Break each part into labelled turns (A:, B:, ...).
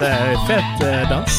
A: Det er fet eh, dans.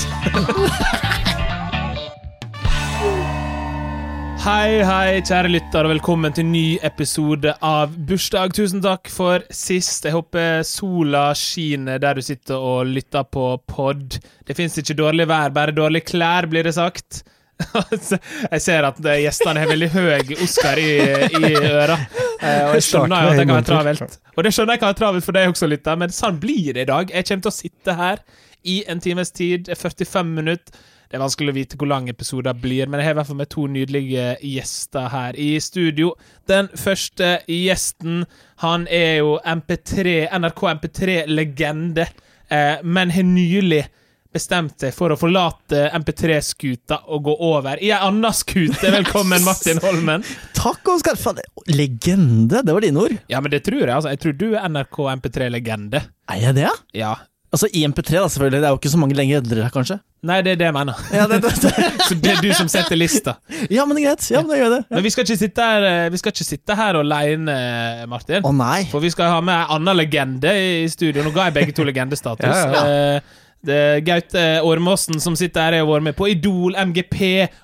A: Hei, hei, kjære lytter, og velkommen til ny episode av Bursdag. Tusen takk for sist. Jeg håper sola skinner der du sitter og lytter på pod. Det fins ikke dårlig vær, bare dårlige klær, blir det sagt. jeg ser at eh, gjestene har veldig høy Oscar i, i øra. Eh, Og jeg skjønner jo at det kan være travelt. Og det skjønner jeg kan være travelt for deg også, lytter, men sånn blir det i dag. Jeg kommer til å sitte her i en times tid, 45 minutter. Det er vanskelig å vite hvor lang episoden blir, men jeg har i hvert fall med to nydelige gjester her i studio. Den første gjesten, han er jo MP3, NRK MP3-legende, eh, men har nylig bestemt seg for å forlate MP3-skuta og gå over i ei anna skute. Velkommen, Martin Holmen.
B: Takk, Oskar! Faen, det- Legende! Det var dine ord.
A: Ja, men det tror jeg. altså. Jeg tror du er NRK MP3-legende.
B: Er jeg det, ja?
A: Ja.
B: Altså i MP3, da, selvfølgelig. Det er jo ikke så mange lenger eldre, her, kanskje.
A: Nei, det er det jeg mener.
B: Ja, det, det, det.
A: Så det er du som setter lista.
B: ja men det er greit. Ja, men da gjør jeg det.
A: Men vi skal ikke sitte her, eh, vi skal ikke sitte her alene, eh, Martin.
B: Å nei!
A: For vi skal ha med en annen legende i studio. Nå ga jeg begge to legendestatus.
C: Ja, ja,
A: Eh, Det er Gaute eh, Ormåsen som sitter her, har vært med på Idol, MGP,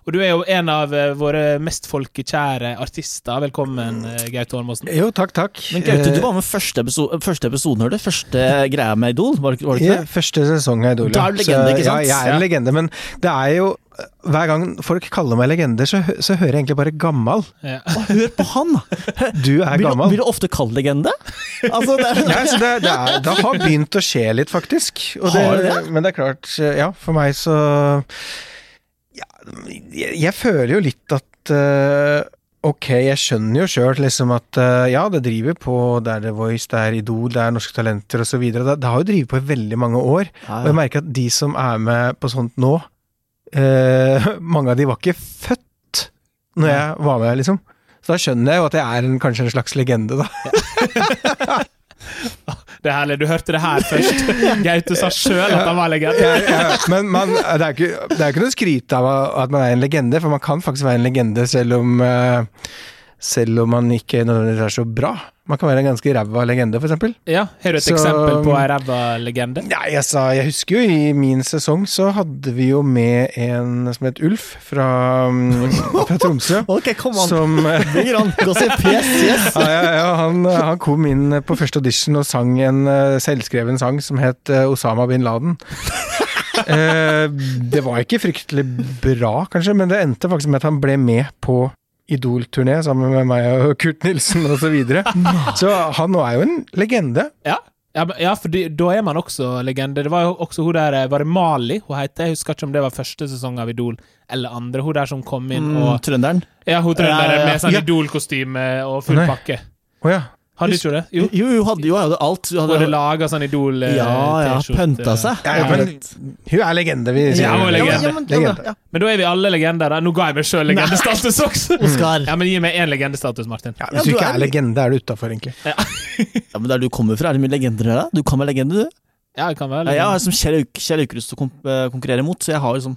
A: og du er jo en av eh, våre mest folkekjære artister. Velkommen, eh, Gaute Ormåsen.
C: Jo, takk, takk.
B: Men Gaute, du var med første, episo første episoden, hører du? Første greia med Idol, var det, ikke- var det
C: Eh,
B: ikke
C: ja, Første sesong av Idol.
B: Da er du legende,
C: Så,
B: ikke sant?
C: Ja, jeg er en
B: Ja.
C: legende, men det er jo Hver gang folk kaller meg legende, så, hø- så hører jeg egentlig bare gammal.
A: Ja.
B: det? Hør på han! da.
C: Du
B: Blir
C: er
B: du,
C: gammal.
B: blir du ofte kalt legende? Altså, det er,
C: Ja, så det, det, er, det har begynt å skje litt, faktisk. Og
B: Har det?
C: Men det er klart, eh, ja, for meg så ja, jeg, jeg føler jo litt at eh, Ok, jeg skjønner jo sjøl liksom at eh, ja, det driver på, det er The Voice, det er Idol, det er Norske Talenter osv. Det, det har jo drevet på i veldig mange år.
B: Ja,
C: Og jeg merker at de som er med på sånt nå, eh, mange av de var ikke født når jeg var med, liksom. Så da skjønner jeg jo at jeg er en, kanskje en slags legende, da.
A: Det er herlig. Du hørte det her først. Gaute sa sjøl at han var legende.
C: Ja, ja, Men man, det, er ikke, det er ikke noe skryt av at man er en legende, for man kan faktisk være en legende selv om eh, selv om man ikke nødvendigvis er så bra. Man kan være en ganske ræva legende, f.eks.
A: Ja, Har du et
C: Så- um,
A: eksempel på ei ræva legende?
C: Nei, jeg sa Jeg husker jo i min sesong så hadde vi jo med en som het Ulf fra, mm, fra Tromsø.
B: Ok, kom an.
C: Som eh,
B: Ligger an. Gossip, yes, yes.
C: ja, ja, ja, han, eh, han kom inn eh, på første audition og sang en eh, selvskreven sang som het eh, Osama bin Laden. Eh, det var ikke fryktelig bra, kanskje, men det endte faktisk med at han ble med på Idol-turné sammen med meg og Kurt Nilsen osv. Så, videre. så han nå er jo en legende.
A: Ja, ja, men- ja for de, da er man også legende. Det var jo også hun der eh, Var det Mali hun het? Jeg husker ikke om det var første sesong av Idol eller andre. Hun der som kom inn
B: Mm,
A: og
B: trønderen.
A: Ja, hun trønderen
B: Ja, ja, ja.
A: med sånn
C: Ja.
A: Idol-kostyme og full
C: Nei.
A: pakke.
C: Å ja.
A: Hadde du ikke det? Jo.
B: Jo, jo, hadde jo hadde alt. Du
A: Både
B: hadde,
A: laga sånn Idol eh,
B: ja, ja.
A: T-skjorte.
B: Pønta seg.
C: Ja, ja, men hun er legende, vi sier.
A: Ja, hun er legende.
B: Ja, men- ja, men-
C: legende.
B: ja.
A: Men da er vi alle legender. da. Nå ga jeg meg sjøl legendestatus også!
B: Oskar.
A: Ja, men Gi meg én legendestatus, Martin.
C: Ja,
B: Ja,
C: hvis du
B: du
C: ikke
B: er
C: er
B: leg-
C: legende, er du utafor, egentlig.
B: Ja, men der du kommer fra, er det mye legender der? da? Du kan være legende, du.
A: Ja, jeg kan være
B: Ja, jeg har
A: legende.
B: liksom Kjell Auk- Kjell Aukrust å kom- eh, konkurrere mot, så jeg har liksom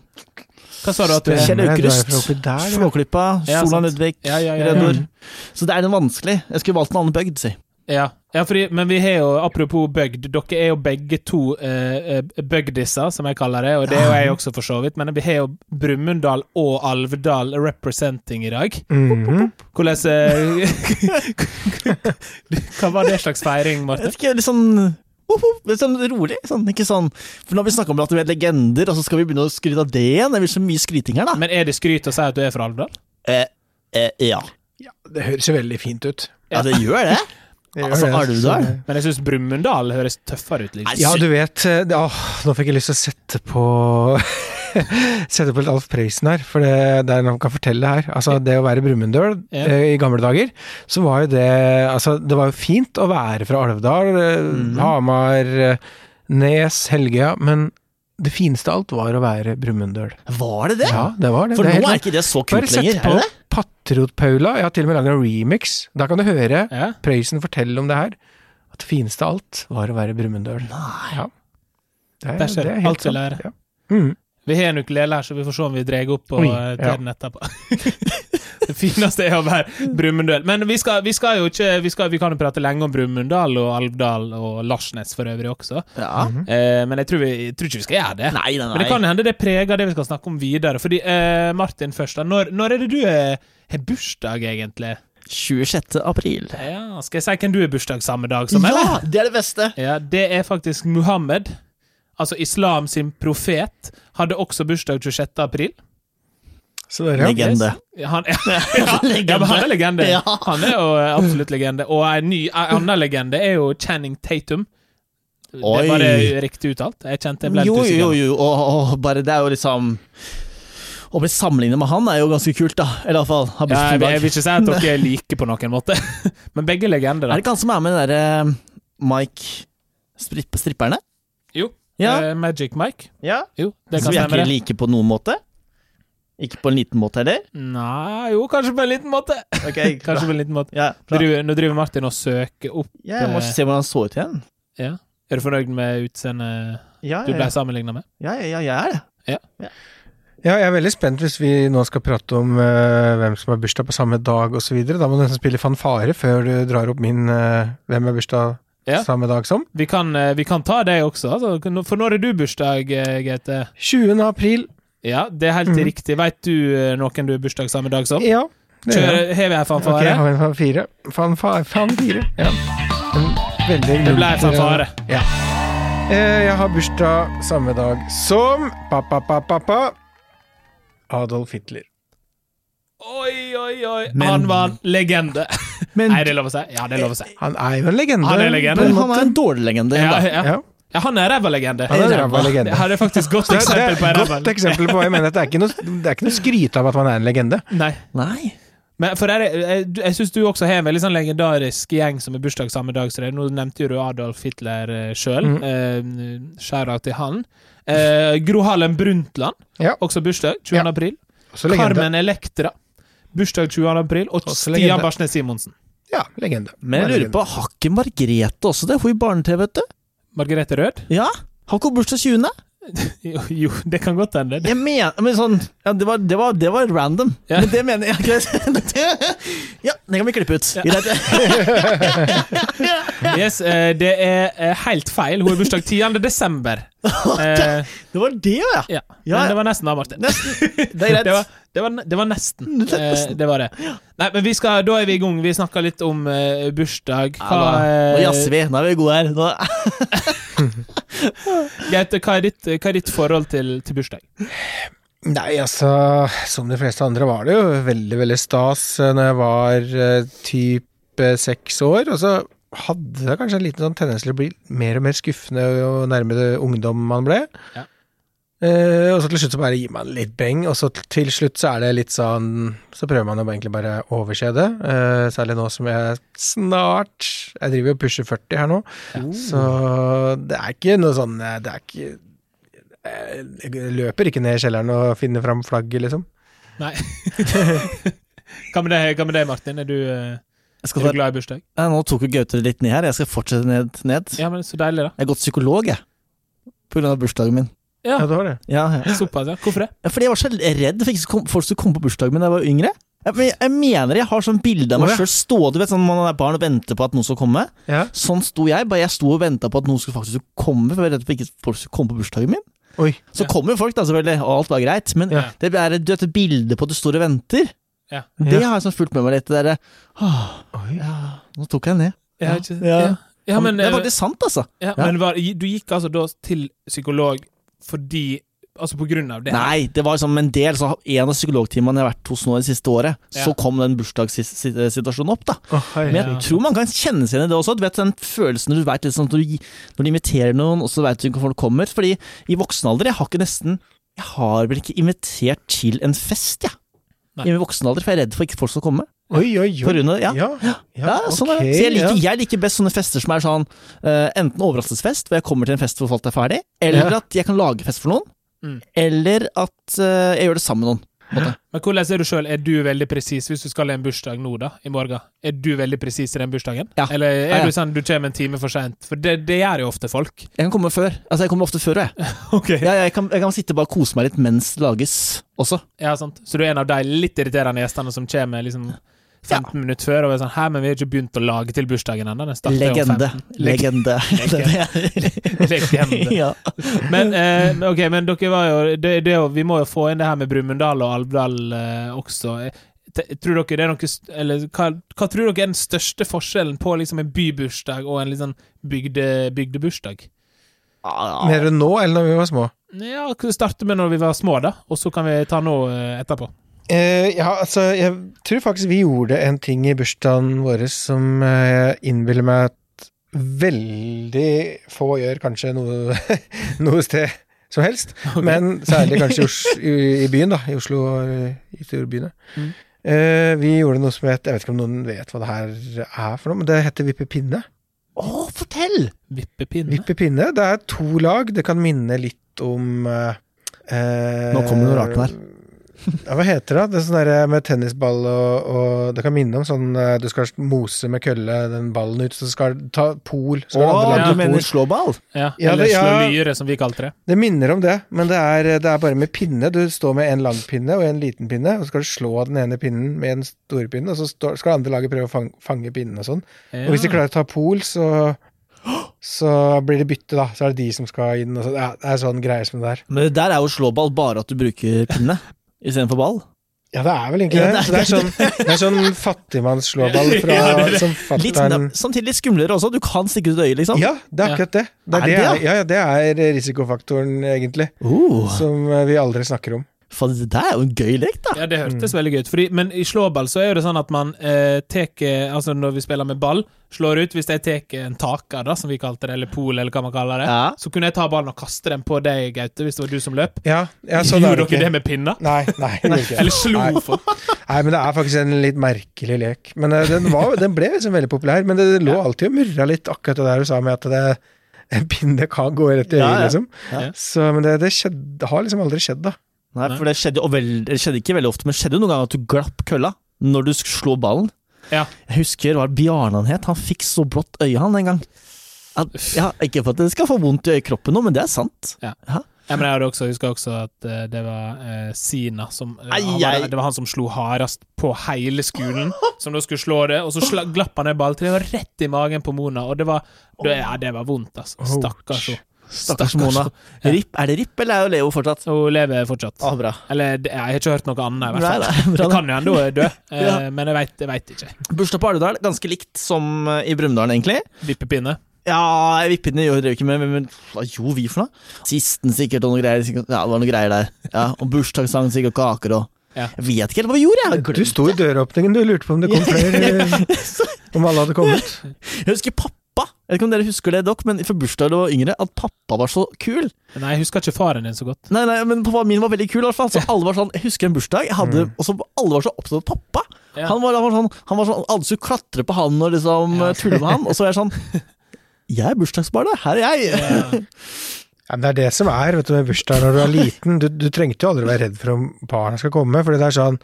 A: Hva sa du at du
B: Kjell
C: Stemmer det, du er
B: Aukrust,
C: fra oppi der, du.
B: Flåklypa,
A: Ja,
B: Solan
A: sant.
B: Ludvig,
A: Ja, ja, ja, ja.
B: Reddor. Så det er den vanskelig. Jeg skulle valgt en annen bygd, si.
A: Ja, ja fordi, men vi har jo, apropos bygd, dere er jo begge to uh, bygdiser, som jeg kaller det, og det er jo jeg også for så vidt, men vi har jo Brumunddal og Alvdal representing i dag.
C: Mhm.
A: Hvordan eh, Hva var det slags feiring,
B: Jeg
A: Martin?
B: vet ikke, litt sånn Woop, woop, litt sånn rolig. Sånn, ikke sånn For nå har vi snakka om at vi er legender, og så skal vi begynne å skryte av det igjen? Det blir så mye skryting her, da.
A: Men er det skryt å si at du er fra Alvdal?
B: eh, eh, ja.
C: Ja, det høres jo veldig fint ut.
B: ja, det gjør det.
C: Det gjør
B: Altså,
C: det,
B: Alvdal.
C: så-
A: Men jeg syns Brumunddal høres tøffere ut. Liksom.
B: Nei,
C: Ja, du vet eh, det- Åh, nå fikk jeg lyst til å sette på Sette på litt Alf Prøysen her, for det, det er noe man kan fortelle her. Altså, det å være Brumunddøl
A: Ja.
C: eh, i gamle dager, så var jo det Altså, det var jo fint å være fra Alvdal, eh,
B: Mhm.
C: Hamar, eh, Nes, Helgøya, men det fineste av alt var å være Brumunddøl.
B: Var det det?
C: Ja, det var det.
B: For
C: det
B: nå
C: helt
B: er
C: sant.
B: ikke det så
C: Bare
B: kult lenger,
C: sett
B: er
C: på
B: det det?
C: Patriot-Paula. Jeg har til og med laget en remix. Da kan du høre
A: Ja.
C: Prøysen fortelle om det her. At det fineste av alt var å være Brumunddøl. Ja. Det er,
A: Der ser
C: det
A: du.
C: er helt
A: Alt vi
C: sant.
A: lærer.
C: Ja. Mm.
A: Vi har en ukulele her, så vi får se om vi drar opp på
C: Oi,
A: eh,
C: ja.
A: tiden etterpå. Det fineste er å være Brumunddøl. Men vi skal, vi skal jo ikke vi, skal, vi kan jo prate lenge om Brumunddal og Alvdal og Larsnes for øvrig også.
B: Ja.
A: Eh, men jeg tror, vi, jeg tror ikke vi skal gjøre det.
B: Nei, nei,
A: Men det
B: nei.
A: kan hende det preger det vi skal snakke om videre. Fordi, eh, Martin først, da. Når, når er det du er, har bursdag, egentlig?
B: 26. april.
A: Ja, skal jeg si hvem du har bursdag samme dag som, eller?
B: Ja, det er det beste!
A: Ja, det er faktisk Muhammed. Altså islam sin profet. Hadde også bursdag 26. april.
C: Så der, ja.
B: Legende.
A: Han, ja, ja, men han er legende.
B: Ja.
A: Han er jo eh, absolutt legende. Og en ny, en annen legende er jo Channing Tatum. Det
B: Oi.
A: var det riktig uttalt? Jeg kjente jeg ble litt
B: Jo, jo,
A: usikker.
B: jo, og, og bare det er jo liksom Å bli sammenlignet med han er jo ganske kult, da. Eller iallfall ha
A: Ja, jeg,
B: bursdag.
A: jeg vil ikke si at dere er like på noen måte, men begge er legender.
B: Er
A: Da.
B: det ikke han som er med den derre Mike stripp, Stripperne?
A: Jo.
B: Ja.
A: Eh, Magic Mike.
B: ja.
A: Jo, det
B: Som
A: kan
B: vi er
A: stemme.
B: ikke
A: det.
B: like på noen måte? Ikke på en liten måte heller?
A: Nei, jo, kanskje på en liten måte.
B: Okay,
A: Kanskje på en liten måte.
B: Ja, bra.
A: Driver, nå driver Martin og søker opp
B: Ja, jeg må se hvordan han så ut igjen.
A: ja. Er du fornøyd med utseendet
B: Ja,
A: du ble sammenligna med?
B: ja, ja, ja, jeg er det.
C: ja, jeg er veldig spent hvis vi nå skal prate om eh, hvem som har bursdag på samme dag osv. Da må du nesten spille fanfare før du drar opp min eh, hvem er bursdag
A: Ja.
C: samme dag som.
A: Vi kan, eh, vi kan ta deg også, altså. for når er du bursdag, eh, GT?
C: 20. april.
A: Ja, det er helt
C: Mhm.
A: riktig. Veit du eh, noen du har bursdag samme dag som?
C: Ja. Det gjør jeg.
A: Kjør, Hever jeg
C: Ok,
A: fanfare?
C: jeg har en fanfire. Fanfare. fanfire. Ja. En veldig
A: det ble
C: munter-
A: fanfare.
C: Eh, Jeg har bursdag samme dag som pappa-pappa-pappa Adolf Hitler.
A: Oi, oi, oi.
B: Men-
A: Han var en legende.
B: Men
A: Nei, det er lov å si. Ja, det er lov å si.
C: Han er jo en legende.
A: Han er en legende.
C: på en
B: men
C: måte.
B: han er en dårlig legende.
A: Ja,
B: da.
A: ja.
C: Ja.
A: ja han er ræva legende.
C: Han er en ræva
A: Det
C: legende.
A: her er faktisk godt
C: Det, det er
A: eksempel på en
C: et
A: ræva.
C: godt eksempel på hva jeg mener. At det, er ikke noe, det er ikke noe skryt av at man er en legende.
A: Nei.
B: Nei.
A: Men for jeg, jeg, jeg syns du også har en veldig sånn legendarisk gjeng som har bursdag samme dag som deg. Nå nevnte jo du Adolf Hitler eh, sjøl.
C: Mhm.
A: Eh, Skjæra til han. Eh, Gro Harlem Brundtland,
C: Ja.
A: også bursdag. 20.
C: Ja.
A: april.
C: Også legende.
A: Carmen Electra. Bursdag 20. april. Og
C: Også
A: Stian
C: legende.
A: Barsnes Simonsen.
C: Ja, legende.
B: Men jeg lurer på, har ikke Margrethe også det? Hun i barne-TV, vet du.
A: Margrethe Rød?
B: Ja. Har ikke hun bursdag 20.?
A: Jo, jo, det kan godt hende. Det-
B: Jeg mener men sånn ja, det, var, det, var, det var random.
A: Ja.
B: Men det mener jeg greit. Ja, det kan vi klippe ut. Greit.
A: Yes, eh, det er eh, helt feil. Hun har bursdag 10. desember. Eh,
B: Det var det, ja.
A: ja.
B: Ja,
A: Men det var nesten da, Martin.
B: Nesten. Det er
A: Det var,
B: greit.
A: det var, det var nesten.
B: Det var
A: Eh, det var det. Nei, men vi skal, da er vi i gang. Vi snakka litt om eh, bursdag.
B: Ja,
A: Hva,
B: da. Nå jazzer
A: eh,
B: vi. Nå er vi gode her. Nå,
A: Gaute, hva, er ditt, hva er ditt forhold til, til bursdag?
C: Nei, altså, som de fleste andre var det jo veldig, veldig stas eh, når jeg var eh, type seks år, og så hadde jeg kanskje en liten sånn tendens til å bli mer og mer skuffende jo nærmere ungdom man ble.
A: Ja.
C: Eh, og så til slutt så bare gir man litt beng, og så t- til slutt så er det litt sånn Så prøver man å bare- egentlig bare overse det, eh, særlig nå som jeg snart Jeg driver jo og pusher 40 her nå, så det er ikke noe sånn eh, Det er ikke Eh, jeg løper ikke ned i kjelleren og finner fram flagget, liksom.
A: Nei. Hva med deg, hva med deg Martin? Er du, eh,
B: jeg
A: er
B: skal
A: du
B: ta,
A: glad i bursdag?
B: Ja, nå tok jo Gaute litt ned her. Jeg skal fortsette ned. ned.
A: Ja, men Så deilig, da.
B: Jeg har gått psykolog, jeg. På grunn av bursdagen min.
A: Ja.
C: det var det.
B: Ja, ja.
A: Såpass, ja. Hvorfor det?
B: Ja, Fordi jeg var så redd for ikke så kom- folk skulle komme på bursdagen min da jeg var yngre. Jeg, men jeg mener jeg har sånn bilde av meg
C: Å, ja.
B: sjøl stående vet, du, sånn når man er barn og venter på at noen skal komme.
C: Ja.
B: Sånn sto jeg, bare jeg sto og venta på at noen skulle faktisk komme. For jeg var redd for ikke folk skulle komme på bursdagen min.
C: Oi.
B: Så
A: Ja.
B: kom jo folk, da selvfølgelig, og alt var greit. Men eh,
C: Ja.
B: det er du vet, et bilde på at du står og venter.
A: Ja.
B: Det
C: Ja.
B: har jeg sånn fulgt med meg litt. Det derre «Åh,
C: Oi.
B: ja, Nå tok jeg ned.
A: Ja, ikke,
B: Ja.
A: ja. ja men,
B: det er
A: eh,
B: faktisk sant, altså.
A: ja,
B: ja.
A: men var, du gikk altså da til psykolog fordi Altså på grunn av det? her?
B: Nei, det var liksom en del. Så en av psykologtimene jeg har vært hos nå det siste året, så
A: Ja.
B: kom den bursdagssituasjonen opp, da.
C: Åh, hei.
B: Men jeg
A: Ja.
B: tror man kan kjenne seg igjen i det også. Du vet den følelsen når du vet liksom, når, du, når du inviterer noen, og så vet du ikke hvor folk kommer. Fordi i voksen alder, jeg har ikke nesten Jeg har vel ikke invitert til en fest, jeg.
A: Nei.
B: I voksen alder, for jeg er redd for ikke folk skal komme.
C: Oi, oi,
B: På
C: oi.
B: grunn av, ja.
C: Ja, ja,
B: Ja, sånn er det.
C: ok,
B: Så jeg liker,
C: ja.
B: jeg liker best sånne fester som er sånn eh, enten overraskelsesfest, hvor jeg kommer til en fest hvor folk er ferdig, eller
C: Ja.
B: at jeg kan lage fest for noen,
A: Mm.
B: eller at eh, jeg gjør det sammen med noen. på en måte.
A: Men hvordan er du sjøl? Er du veldig presis hvis du skal i en bursdag nå, da? I morgen? Er du veldig presis i den bursdagen?
B: Ja.
A: Eller er
B: Ja, ja.
A: du sånn du kommer en time for seint? For det, det gjør jo ofte folk.
B: Jeg kan komme før. Altså, jeg kommer ofte før, jeg.
A: Ok. Ja.
B: Jeg, jeg, kan, jeg kan sitte bare og kose meg litt mens det lages også.
A: sant. Så du er en av de litt irriterende gjestene som kommer liksom 15 minutter før og er sånn Hæ, men vi har ikke begynt å lage til bursdagen ennå. Den starter jo om
B: Legende.
A: 15. Leg-
B: Legende.
A: Legende.
B: ja.
A: Men, eh, men ok, men dere var jo det, det, er jo- Vi må jo få inn det her med Brumunddal og Alvdal eh, også. Eh, te- Tror dere det er noe st- Eller hva, hva tror dere er den største forskjellen på liksom en bybursdag og en liksom bygde, bygdebursdag?
B: Ja,
C: Mer enn nå, eller når vi var små?
A: Ja, Vi starter med når vi var små, da, og så kan vi ta nå eh, etterpå.
C: Eh, ja, altså, jeg tror faktisk vi gjorde en ting i bursdagen vår som eh, jeg innbiller meg at veldig få gjør kanskje noe, noe sted som helst. Men særlig kanskje i, Os i, i byen, da. I Oslo og i storbyene.
A: Mm.
C: Eh, vi gjorde noe som het Jeg vet ikke om noen vet hva det her er for noe, men det heter vippepinne.
B: Å, fortell!
A: Vippepinne?
C: Vippepinne, det er to lag. Det kan minne litt om eh,
B: Nå kommer det noe rart her.
C: Ja, hva heter det? Det er sånn der med tennisball og, og Det kan minne om sånn eh, Du skal mose med kølle den ballen ut, så skal du ta pol. Så skal
B: Å,
C: andre lage
B: du
C: pol.
B: mener slåball?
A: ja,
C: Ja,
A: eller
C: det- ja.
A: slå lyre, som vi kalte det.
C: Det minner om det, men det er, eh, det er bare med pinne. Du står med en lang pinne og en liten pinne, og så skal du slå den ene pinnen med den store pinnen, og så står- skal andre laget prøve å fange, fange pinnen og sånn. Og hvis de klarer å ta pol, så, så blir det bytte, da. Så er det de som skal inn og sånn. Ja, det er sånn greier som det der.
B: Men det der er jo slåball bare at du bruker pinne istedenfor ball.
C: Ja, det er vel egentlig
B: Ja,
C: det. Så det er sånn, det er sånn fattigmannsslåball fra
A: Ja, det er
C: som
B: Litt, men
C: fatter'n
B: det er samtidig litt skumlere også, du kan stikke ut øyet, liksom.
C: Ja, det er akkurat det. Det
B: Er
C: er, det,
B: det,
C: er- ja, ja, det er risikofaktoren, egentlig,
B: Oh,
C: som eh, vi aldri snakker om.
B: faen, det der er jo en gøy lek, da.
A: Ja, det hørtes
C: Mm.
A: veldig gøy ut. Fordi, men i slåball så er jo det sånn at man eh, teker Altså når vi spiller med ball, slår ut Hvis jeg tar en taker, da, som vi kalte det, eller pol, eller hva man kaller det,
B: Ja.
A: så kunne jeg ta ballen og kaste den på deg, Gaute, hvis det var du som løp.
C: Ja, ja sånn er
A: Gjorde dere
C: det
A: det
C: ikke.
A: med pinna?
C: Nei, nei. det gjør ikke.
A: Eller slo
C: Nei.
A: for?
C: Nei, men det er faktisk en litt merkelig lek. Men eh, den, var, den ble liksom veldig populær, men det, det lå alltid og murra litt, akkurat det der du sa med at det, en pinne kan gå rett i øyet,
B: Ja, ja.
C: liksom.
B: Ja.
C: Så, men det, det, skjedde, det har liksom aldri skjedd, da.
B: Nei, for det skjedde, jo veld, det skjedde ikke veldig ofte, men det skjedde jo noen ganger at du glapp kølla når du sk- slo ballen.
A: Ja.
B: Jeg husker hva Bjarne han het, han fikk så blått øye han en gang. At, ja, ikke for at det skal få vondt i øyekroppen nå, men det er sant.
A: Ja, men jeg hadde også, husker også at eh, det var eh, Sina som eh,
B: Ai,
A: han var,
B: ai.
A: Det var han som slo hardest på hele skolen, som da skulle slå det, og så sla, glapp han ned balltreet og rett i magen på Mona, og det var det, Ja, det var vondt, altså. Stakkars henne.
B: Stakkars Mona.
A: Ja.
B: Rip, er det Rip, eller er jo Leo fortsatt?
A: Hun lever fortsatt.
B: Ah, bra.
A: Eller det- jeg har ikke hørt noe annet, i hvert fall.
B: Nei, nei,
A: det
B: bra da.
A: kan jo hende hun er død, eh,
B: Ja.
A: men jeg veit, jeg vet ikke.
B: Bursdag på Alvdal, ganske likt som eh, i Brumunddal, egentlig.
A: Vippepinne.
B: Ja, vippene gjør drev ikke med, men, men hva gjorde vi for noe? Sisten sikkert, og noen greier. Sikkert, ja, det var noen greier der. Ja, og bursdagssang, sikkert kaker og
A: Ja.
B: Jeg vet ikke helt hva vi gjorde, jeg.
C: Du sto i døråpningen, du lurte på om det kom flere, om alle hadde kommet.
B: Jeg husker pappa. Jeg vet ikke om dere husker det, dere, men for bursdag da jeg var yngre, at pappa var så kul.
A: Nei, jeg husker ikke faren din så godt.
B: Nei, nei, men pappa min var veldig kul, i hvert fall. Så alle var sånn, jeg husker en bursdag, jeg hadde, og så alle var så opptatt av pappa.
A: Ja.
B: Han, var, han var sånn, han var sånn, alle skulle klatre på han og liksom
A: Ja.
B: eh, tulle med han, og så var jeg sånn Jeg er bursdagsbarnet, her er jeg.
C: Ja, men det er det som er vet du, med bursdag når du er liten. Du, du trengte jo aldri være redd for om barna skal komme. fordi det er sånn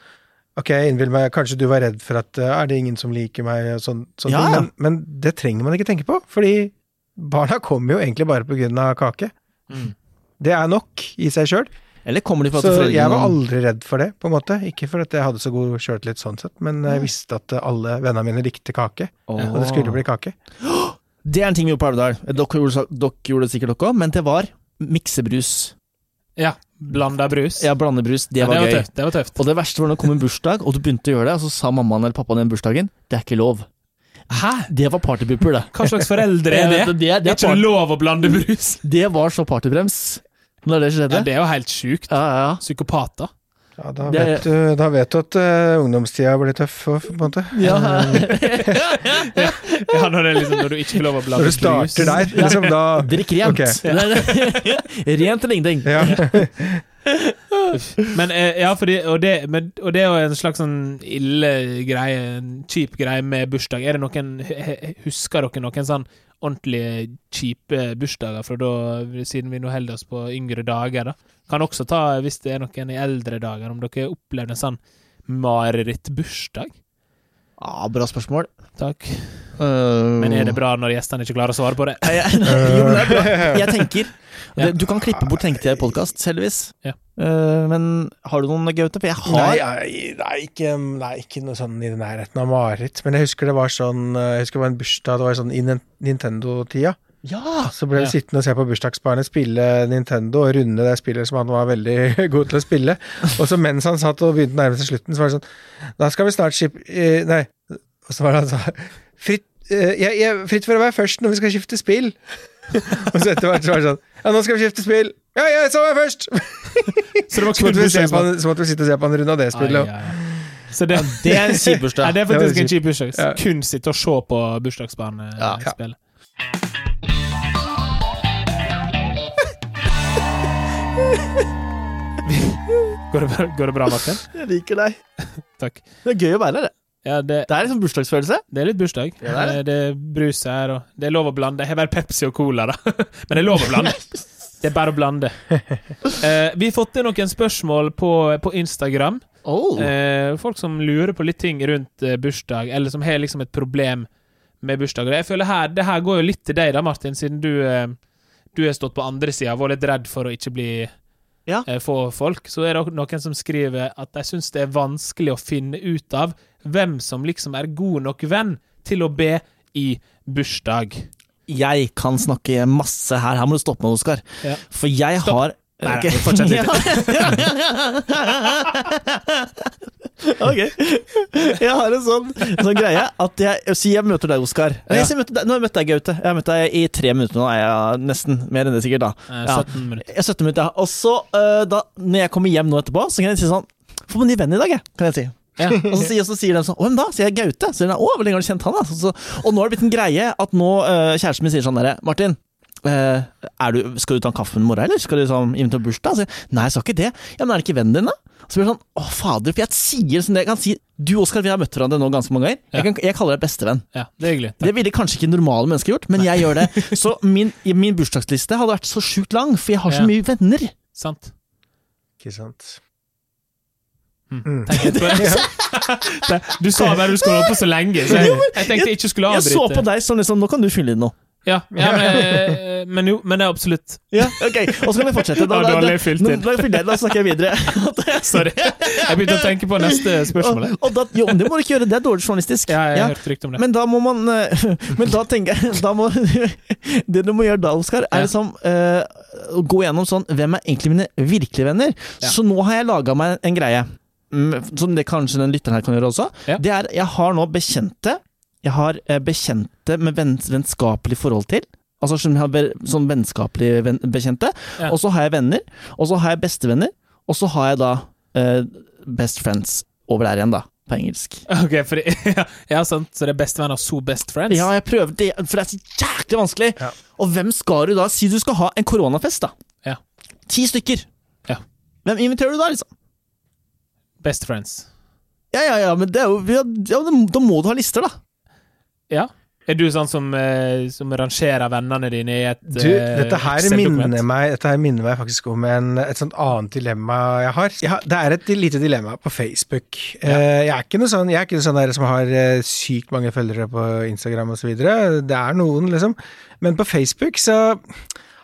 C: Ok, jeg innbiller meg, kanskje du var redd for at eh, er det ingen som liker meg, og sånn, sånne
B: Ja,
C: ting,
B: ja.
C: men, men det trenger man ikke tenke på. Fordi barna kommer jo egentlig bare på grunn av kake.
A: Mm.
C: Det er nok i seg sjøl.
B: Eller kommer de fra
C: Så
B: til
C: jeg var
B: foreldrene?
C: aldri redd for det, på en måte. Ikke for at jeg hadde så god sjøltillit sånn sett, men jeg visste at eh, alle vennene mine likte kake. Og det skulle bli kake.
B: Det er en ting vi gjorde på Alvdal. Dere gjorde, dere gjorde det sikkert dere òg, men det var miksebrus.
A: Ja. Blanda brus.
B: Ja, blandebrus. Det
A: Ja,
B: var gøy.
A: tøft. Det var tøft.
B: Og det verste var når det kom en bursdag, og du begynte å gjøre det, og så sa mammaen eller pappaen i den bursdagen det er ikke lov.
A: Hæ?
B: Det var partypooper, det.
A: Hva slags foreldre er
B: Eh,
A: det?
B: Det, det,
A: Det er ikke
B: part-
A: lov å blande brus!
B: det var så partybrems når det
A: Ja,
B: skjedde.
A: det er jo helt sjukt.
B: Ja, ja, ja.
A: Psykopater.
C: Ja, da
B: Det-
C: vet du, da vet du at eh, ungdomstida blir tøff, på en måte.
A: Ja, når, det er liksom, når du ikke får lov å blande
C: Når du
A: brus.
C: starter der, liksom da
B: Drikk rent.
C: Ok.
B: Nei, rent eller ingenting.
C: ja.
A: Men eh, ja, fordi, og, det, men, og det er jo en slags sånn ille greie, en kjip greie med bursdag. Er det noen, he- Husker dere noen sånn ordentlig kjipe bursdager fra da, siden vi nå holder oss på yngre dager? da? Kan også ta, hvis det er noen i eldre dager, om dere opplevde en sånn marerittbursdag.
B: Ah, bra spørsmål.
A: Takk. Men er det bra når gjestene ikke klarer å svare på det?
B: Nei, jeg, Eh, jo, men det er bra. Jeg tenker og det, Du kan klippe bort tenkte jeg podkast, heldigvis.
A: Ja.
B: Eh, men har du noen, Gaute? For jeg
C: Nei,
B: har
C: jeg- nei, ikke, nei, ikke noe sånn i nærheten av mareritt. Men jeg husker det var sånn eh, Jeg husker det var en bursdag, det var sånn i Nin- Nintendo-tida.
B: Ja!
C: Så ble jeg
A: Ja.
C: sittende og se på bursdagsbarnet spille Nintendo og runde det spillet som han var veldig god til å spille. Og så mens han satt og begynte å nærme seg slutten, så var det sånn Da skal vi snart skip... eh, Nei, og så var det han sa Fritt, eh, jeg, jeg, fritt for å være først når vi skal skifte spill. og så etter hvert så var det sånn Ja, nå skal vi skifte spill! Ja, jeg så var jeg først!
A: Så det var
C: Så
A: ikke
C: måtte vi, se på
A: bursdagsmat.
C: han, så måtte vi sitte og se på han runde av det
A: Ai,
C: spillet. og-
A: ai, ai. Så det,
B: Det er en kjip
A: Nei,
B: bursdag.
A: det er
C: Det var
A: faktisk en
C: kjipt.
A: kjip bursdag.
C: Ja.
A: Kun sitte og se på bursdagsbarnespillet. Går det, bra- går det bra, Martin?
B: Jeg liker deg.
A: Takk.
B: Det er gøy å være her. det.
A: Ja, det,
B: Det er liksom bursdagsfølelse.
A: det er litt bursdag.
B: Ja, det er
A: Eh, det er brus her, og det er lov å blande. Jeg har bare Pepsi og Cola, da. Men det er lov å blande. Det er bare å blande. Eh, vi har fått inn noen spørsmål på, på Instagram.
B: Oh.
A: Eh, folk som lurer på litt ting rundt eh, bursdag, eller som har liksom et problem med bursdag. Og jeg føler her, Det her går jo litt til deg da, Martin, siden du, eh, du har stått på andre sida og vært litt redd for å ikke bli
B: Ja.
A: eh, få folk. Så er det også noen som skriver at de syns det er vanskelig å finne ut av hvem som liksom er god nok venn til å be i bursdag.
B: Jeg kan snakke masse her. Her må du stoppe meg, Oskar.
A: Ja.
B: For jeg
A: Stopp.
B: har
A: Nei, nei,
B: Ok.
A: fortsett litt.
B: ok. Jeg har en sånn, sånn greie at jeg Si jeg møter deg, Oskar. Nei,
A: Ja.
B: si jeg møter deg- Nå har jeg møtt deg, Gaute. Jeg har møtt deg i tre minutter nå, er jeg nesten. Mer enn det, sikkert. da
A: Eh,
B: Ja.
A: 17 minutter.
B: Jeg er 17 minutter, ja. Og så, eh, da, når jeg kommer hjem nå etterpå, så kan jeg si sånn Få meg ny venn i dag, jeg. Kan jeg si.
A: Ja.
B: Og så, sier- og så sier de sånn Å, hvem da? Sier jeg Gaute. Så sier de, å, hvor lenge har du kjent han, da? Så, så, og nå har det blitt en greie at nå eh, kjæresten min sier sånn derre Martin. eh, er du, skal du ta en kaffe med mora, eller skal du liksom invitere på bursdag? Så, sier jeg, Nei, jeg skal ikke det. Ja, Men er det ikke vennen din, da? Så blir det sånn Å, fader. For jeg sier som det jeg kan si. Du, Oskar, vi har møtt hverandre nå ganske mange ganger. Jeg, kan, jeg kaller deg bestevenn.
A: Ja, det er hyggelig.
B: Det ville kanskje ikke normale mennesker gjort, men jeg gjør det. Så min, min bursdagsliste hadde vært så sjukt lang, for jeg har så
A: Ja.
B: mye venner.
A: Sant.
C: Ikke sant. Mm.
A: Tenk litt på det. Du sa bare du skulle holde på så lenge, så jeg, jeg tenkte jeg ikke skulle
B: Jeg
A: avbryte.
B: så på deg som liksom Nå kan du fylle inn noe.
A: Ja, ja men, eh, men jo, men det er absolutt
B: Ja, ok, Og så kan vi fortsette.
A: Ja, dårlig fylt
B: nå-
A: inn.
B: Da, fyller jeg- da snakker jeg videre.
A: Sorry. Jeg begynte å tenke på neste spørsmål. jeg.
B: Og, og da, jo, men det må du ikke gjøre. Det er dårlig journalistisk.
A: Ja, jeg
B: Ja,
A: har hørt rykte om det.
B: Men da må man eh, Men da tenker jeg da må, Det du må gjøre da, Oskar,
A: Ja.
B: er liksom eh, å gå gjennom sånn Hvem er egentlig mine virkelige venner?
A: Ja.
B: Så nå har jeg laga meg en greie, mm, som det kanskje den lytteren her kan gjøre også.
A: Ja.
B: Det er Jeg har nå bekjente. Jeg har eh, bekjente med venn, vennskapelig forhold til. Altså som jeg har be- sånn vennskapelig venn, bekjente.
A: Ja.
B: Og så har jeg venner. Og så har jeg bestevenner. Og så har jeg da eh, best friends over der igjen, da. På engelsk.
A: Ok, for ja, ja, sant, Så det er bestevenner og so best friends?
B: Ja, jeg prøver det, for det er så jæklig vanskelig.
C: Ja.
B: Og hvem skal du da? Si du skal ha en koronafest, da.
A: Ja.
B: Ti stykker.
A: Ja.
B: Hvem inviterer du da, liksom?
A: Best friends.
B: Ja, ja, ja, men det er jo, ja, ja, men da må du ha lister, da.
A: Ja. Er du sånn som, eh, som rangerer vennene dine i et
C: Du,
A: eh,
C: dette her,
A: Excel-dokument?
C: minner meg, dette her minner meg faktisk om en, et sånt annet dilemma jeg har. Jeg har det er et lite dilemma på Facebook. Eh, Jeg er ikke noe sånn, jeg er ikke noe sånn der som har eh, sykt mange følgere på Instagram osv. Det er noen, liksom. Men på Facebook så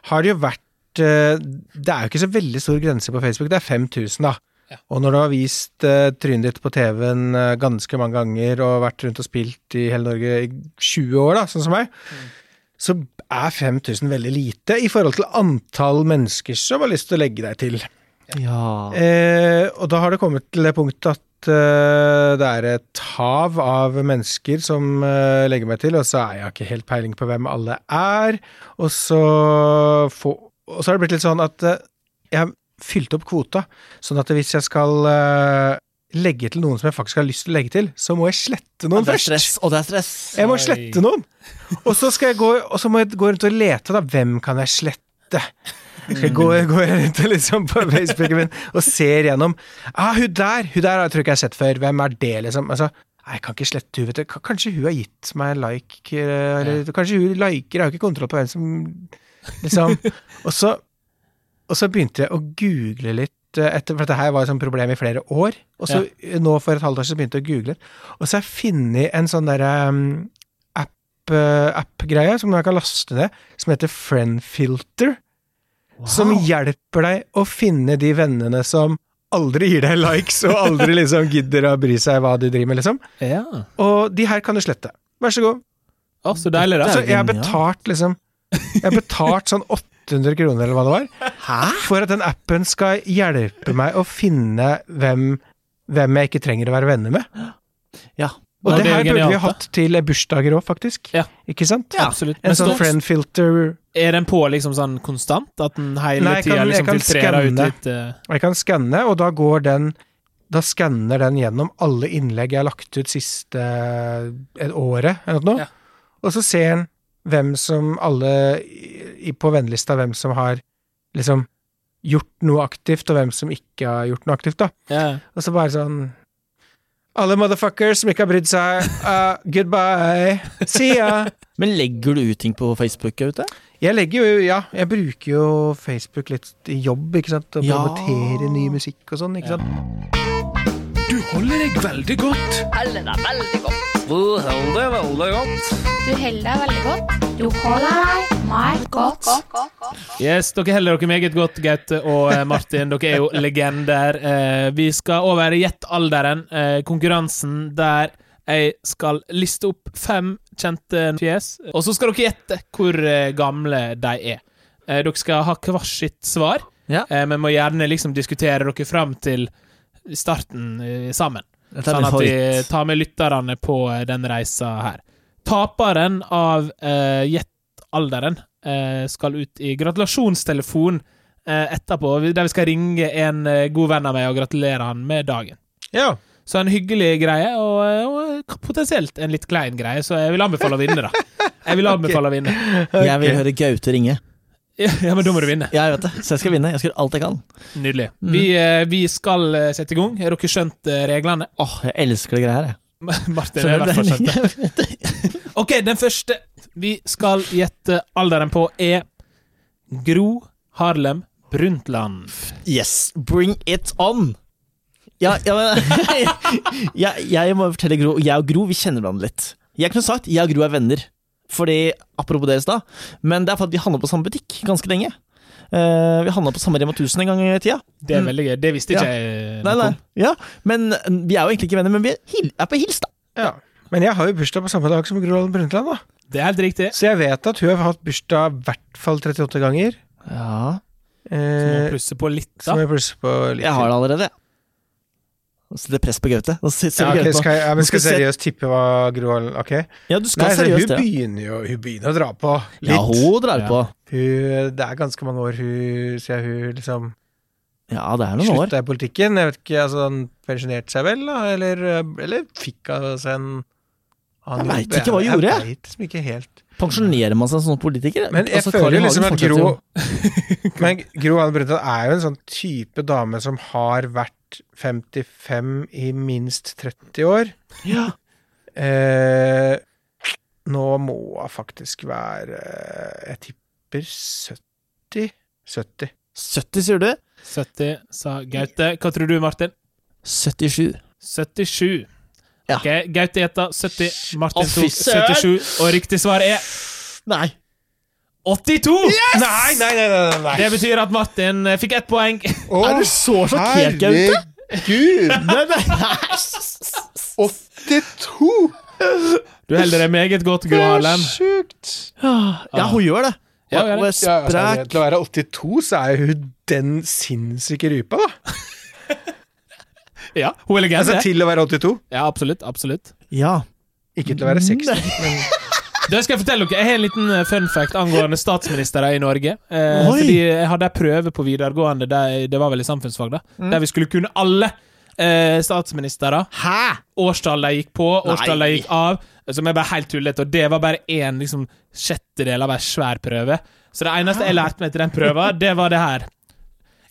C: har det jo vært eh, Det er jo ikke så veldig stor grense på Facebook. Det er 5000, da.
A: Ja.
C: Og når du har vist eh, trynet ditt på TV-en eh, ganske mange ganger og vært rundt og spilt i hele Norge i 20 år, da, sånn som meg, så er 5000 veldig lite i forhold til antall mennesker som har lyst til å legge deg til.
B: Ja.
C: Eh, og da har det kommet til det punktet at eh, det er et hav av mennesker som eh, legger meg til, og så er jeg ikke helt peiling på hvem alle er. Og så, få, og så har det blitt litt sånn at eh, jeg har fylt opp kvota, sånn at hvis jeg skal eh, legge til noen som jeg faktisk har lyst til å legge til, så må jeg slette noen
B: Det er
C: først.
B: stress, og det er stress.
C: Jeg må
A: Oi.
C: slette noen. Og så skal jeg gå Og så må jeg gå rundt og lete, da. Hvem kan jeg slette? Skal jeg gå, går jeg rundt og liksom på Facebooken min og ser gjennom Ah, hun der! Hun der har jeg tror ikke jeg har sett før. Hvem er det, liksom? Altså, nei, jeg kan ikke slette hun, vet du. K- Kanskje hun har gitt meg en like, eller kanskje hun liker, jeg har jo ikke kontroll på hvem som Liksom. Og så Og så begynte jeg å google litt eh, etter, for dette her var et sånt problem i flere år. Og så eh, nå for et halvt år siden begynte jeg å google, og så har jeg funnet en sånn derre um, app, eh, app-greie som jeg kan laste ned, som heter Friendfilter. Som hjelper deg å finne de vennene som aldri gir deg likes, og aldri liksom gidder å bry seg hva de driver med, liksom.
A: Ja.
C: Og de her kan du slette. Vær så god.
A: Å, så deilig, da.
B: Det
C: Så
B: er jo
C: jeg har
B: genialt.
C: betalt liksom Jeg har betalt sånn 800 kroner eller hva det var,
B: Hæ?
C: for at den appen skal hjelpe meg å finne hvem, hvem jeg ikke trenger å være venner med.
B: Ja.
C: Og
A: Ja,
C: det,
A: det er
C: her burde
A: genialt,
C: vi hatt til bursdager òg, faktisk.
A: Ja.
C: Ikke sant?
B: Ja.
A: Absolutt.
C: En
A: Men
C: sånn
A: står-
C: friend filter
A: Er den på liksom sånn konstant? At den hele
C: Nei, jeg
A: tida
C: kan- jeg
A: liksom
C: kan
A: filtrerer ut
C: skanne.
A: litt eh,
C: Jeg kan skanne, og da går den da skanner den gjennom alle innlegg jeg har lagt ut siste et året, eller noe.
A: Ja.
C: Og så ser den hvem som alle i, i- på vennelista, hvem som har liksom gjort noe aktivt, og hvem som ikke har gjort noe aktivt, da.
A: ja.
C: Og så bare sånn Alle motherfuckers som ikke har brydd seg, uh, goodbye, see ya.
B: Men legger du ut ting på Facebook? Ute?
C: Jeg legger jo, ja, jeg bruker jo Facebook litt i jobb, ikke sant? Og
B: Ja.
C: promotere ny musikk og sånn, ikke sant?
D: Du holder deg veldig godt.
E: holder deg veldig godt.
F: Du holder deg veldig godt. Du holder deg meget godt.
A: Yes, dere holder dere meget godt, Gaute og eh, Martin. Dere er jo legender. Eh, vi skal over i Gjett-alderen, eh, konkurransen der jeg skal liste opp fem kjente fjes, og så skal dere gjette hvor eh, gamle de er. Eh, dere skal ha hvert sitt svar,
B: Ja.
A: eh, men må gjerne liksom diskutere dere fram til starten eh, sammen.
B: Dette
A: Sånn
B: min
A: at vi
B: favoritt.
A: tar med lytterne på eh, den reisa her. Taperen av eh, Gjett-alderen eh, skal ut i gratulasjonstelefon eh, etterpå, vi- der vi skal ringe en eh, god venn av meg og gratulere han med dagen.
C: Ja.
A: Så en hyggelig greie, og, eh, og potensielt en litt klein greie, så jeg vil anbefale å vinne, da. Jeg vil anbefale å vinne.
B: Jeg vil høre Gaute ringe.
A: Ja, men da må du vinne.
B: Jeg vet det, så jeg skal vinne. Jeg skal gjøre alt jeg kan.
A: Nydelig.
B: Mm.
A: Vi, eh, vi skal eh, sette i gang. Har dere skjønt eh, reglene?
B: Åh, jeg elsker det greia her, jeg.
A: Martin har
B: Skjønner
A: i
B: du
A: hvert fall skjønt det.
B: det?
A: Ok, den første vi skal gjette alderen på, er Gro Harlem Brundtland.
B: Yes, bring it on! Ja, ja men jeg, jeg må fortelle Gro Jeg og Gro vi kjenner hverandre litt. Jeg kunne sagt jeg og Gro er venner, Fordi, apropos det i stad, men det er fordi vi handla på samme butikk ganske lenge. Eh, vi handla på samme Rema 1000 en gang i tida.
A: Det er
B: Mm.
A: veldig gøy. Det visste
B: Ja.
A: ikke jeg. eh,
B: Nei,
A: noe
B: nei,
A: om.
B: ja, men Vi er jo egentlig ikke venner, men vi er, hil er på hils, da.
C: Ja. Men jeg har jo bursdag på samme dag som Gro Harlem Brundtland, da.
A: Det er helt riktig.
C: Så jeg vet at hun har hatt bursdag i hvert fall 38 ganger.
B: Ja,
A: Så må jeg
C: Eh,
A: plusse på litt, da.
C: som jeg plusser på litt.
B: Jeg har det allerede. jeg. Nå setter jeg press på Gaute. Nå setter
C: Ja,
B: jeg
C: ok,
B: Gaute på.
C: skal jeg, ja,
B: Nå
C: men skal jeg
B: skal jeg
C: seriøst tippe hva Gro Harlem Ok.
B: Ja, du
C: Nei,
B: skal
C: så hun
B: seriøst det.
C: begynner jo Hun begynner å dra på litt.
B: Ja, hun drar
A: Ja.
B: på.
C: Hun, det er ganske mange år hun sier hun liksom
B: Ja, det er noen år.
C: slutta i politikken. Jeg vet ikke, altså Han pensjonerte seg vel, da? Eller, eh, eller fikk hun seg en annen
B: Jeg
C: jobb?
B: vet ikke hva hun gjorde, jeg.
C: Jeg vet liksom ikke helt.
B: Pensjonerer man seg som politiker?
C: Men jeg
B: Altså, Carl I.
C: føler
B: Hagen
C: liksom at
B: fortsetter
C: Gro
B: jo.
C: Men Gro Harlem Brundtland er jo en sånn type dame som har vært 55 i minst 30 år.
B: Ja.
C: Eh, nå må hun faktisk være eh, Jeg tipper 70. 70.
B: 70, sier du?
A: 70, sa Gaute. Hva tror du, Martin?
B: 77.
A: 77.
B: Ja.
A: Ok, Gaute gjetta 70, Martin
B: Å, fy
A: tok
B: søren!
A: 77, og riktig svar er
B: Nei.
A: 82!
C: Nei, nei, nei! nei, nei,
A: Det betyr at Martin eh, fikk ett poeng.
C: Å,
B: Er du så sjokkert, Gaute?
C: Herregud!
B: Nei, nei, nei.
C: 82!
A: Du holder deg meget godt, Gro Harlem.
C: sjukt!
B: Ja, hun gjør det.
A: Ja, hun gjør
B: Hun er
A: det.
C: Ja, altså,
B: sprek.
C: til å være 82, så er jo hun den sinnssyke rypa, da.
A: Ja, hun er legende.
C: Altså til å være 82.
A: Ja, absolutt. absolutt.
B: Ja.
C: Ikke til å være 60.
A: Da skal jeg fortelle dere, jeg har en liten eh, fun fact angående statsministre i Norge. Eh,
B: Oi!
A: fordi jeg hadde en prøve på videregående, der, det var vel i samfunnsfag, da,
B: Mm.
A: der vi skulle kunne alle eh, statsministre.
B: Hæ?
A: Årstall de gikk på, årstall de
B: Nei.
A: gikk av. Som er bare helt tullete. Og det var bare én liksom, sjettedel av ei svær prøve. Så det eneste jeg lærte meg til den prøva, det var det her.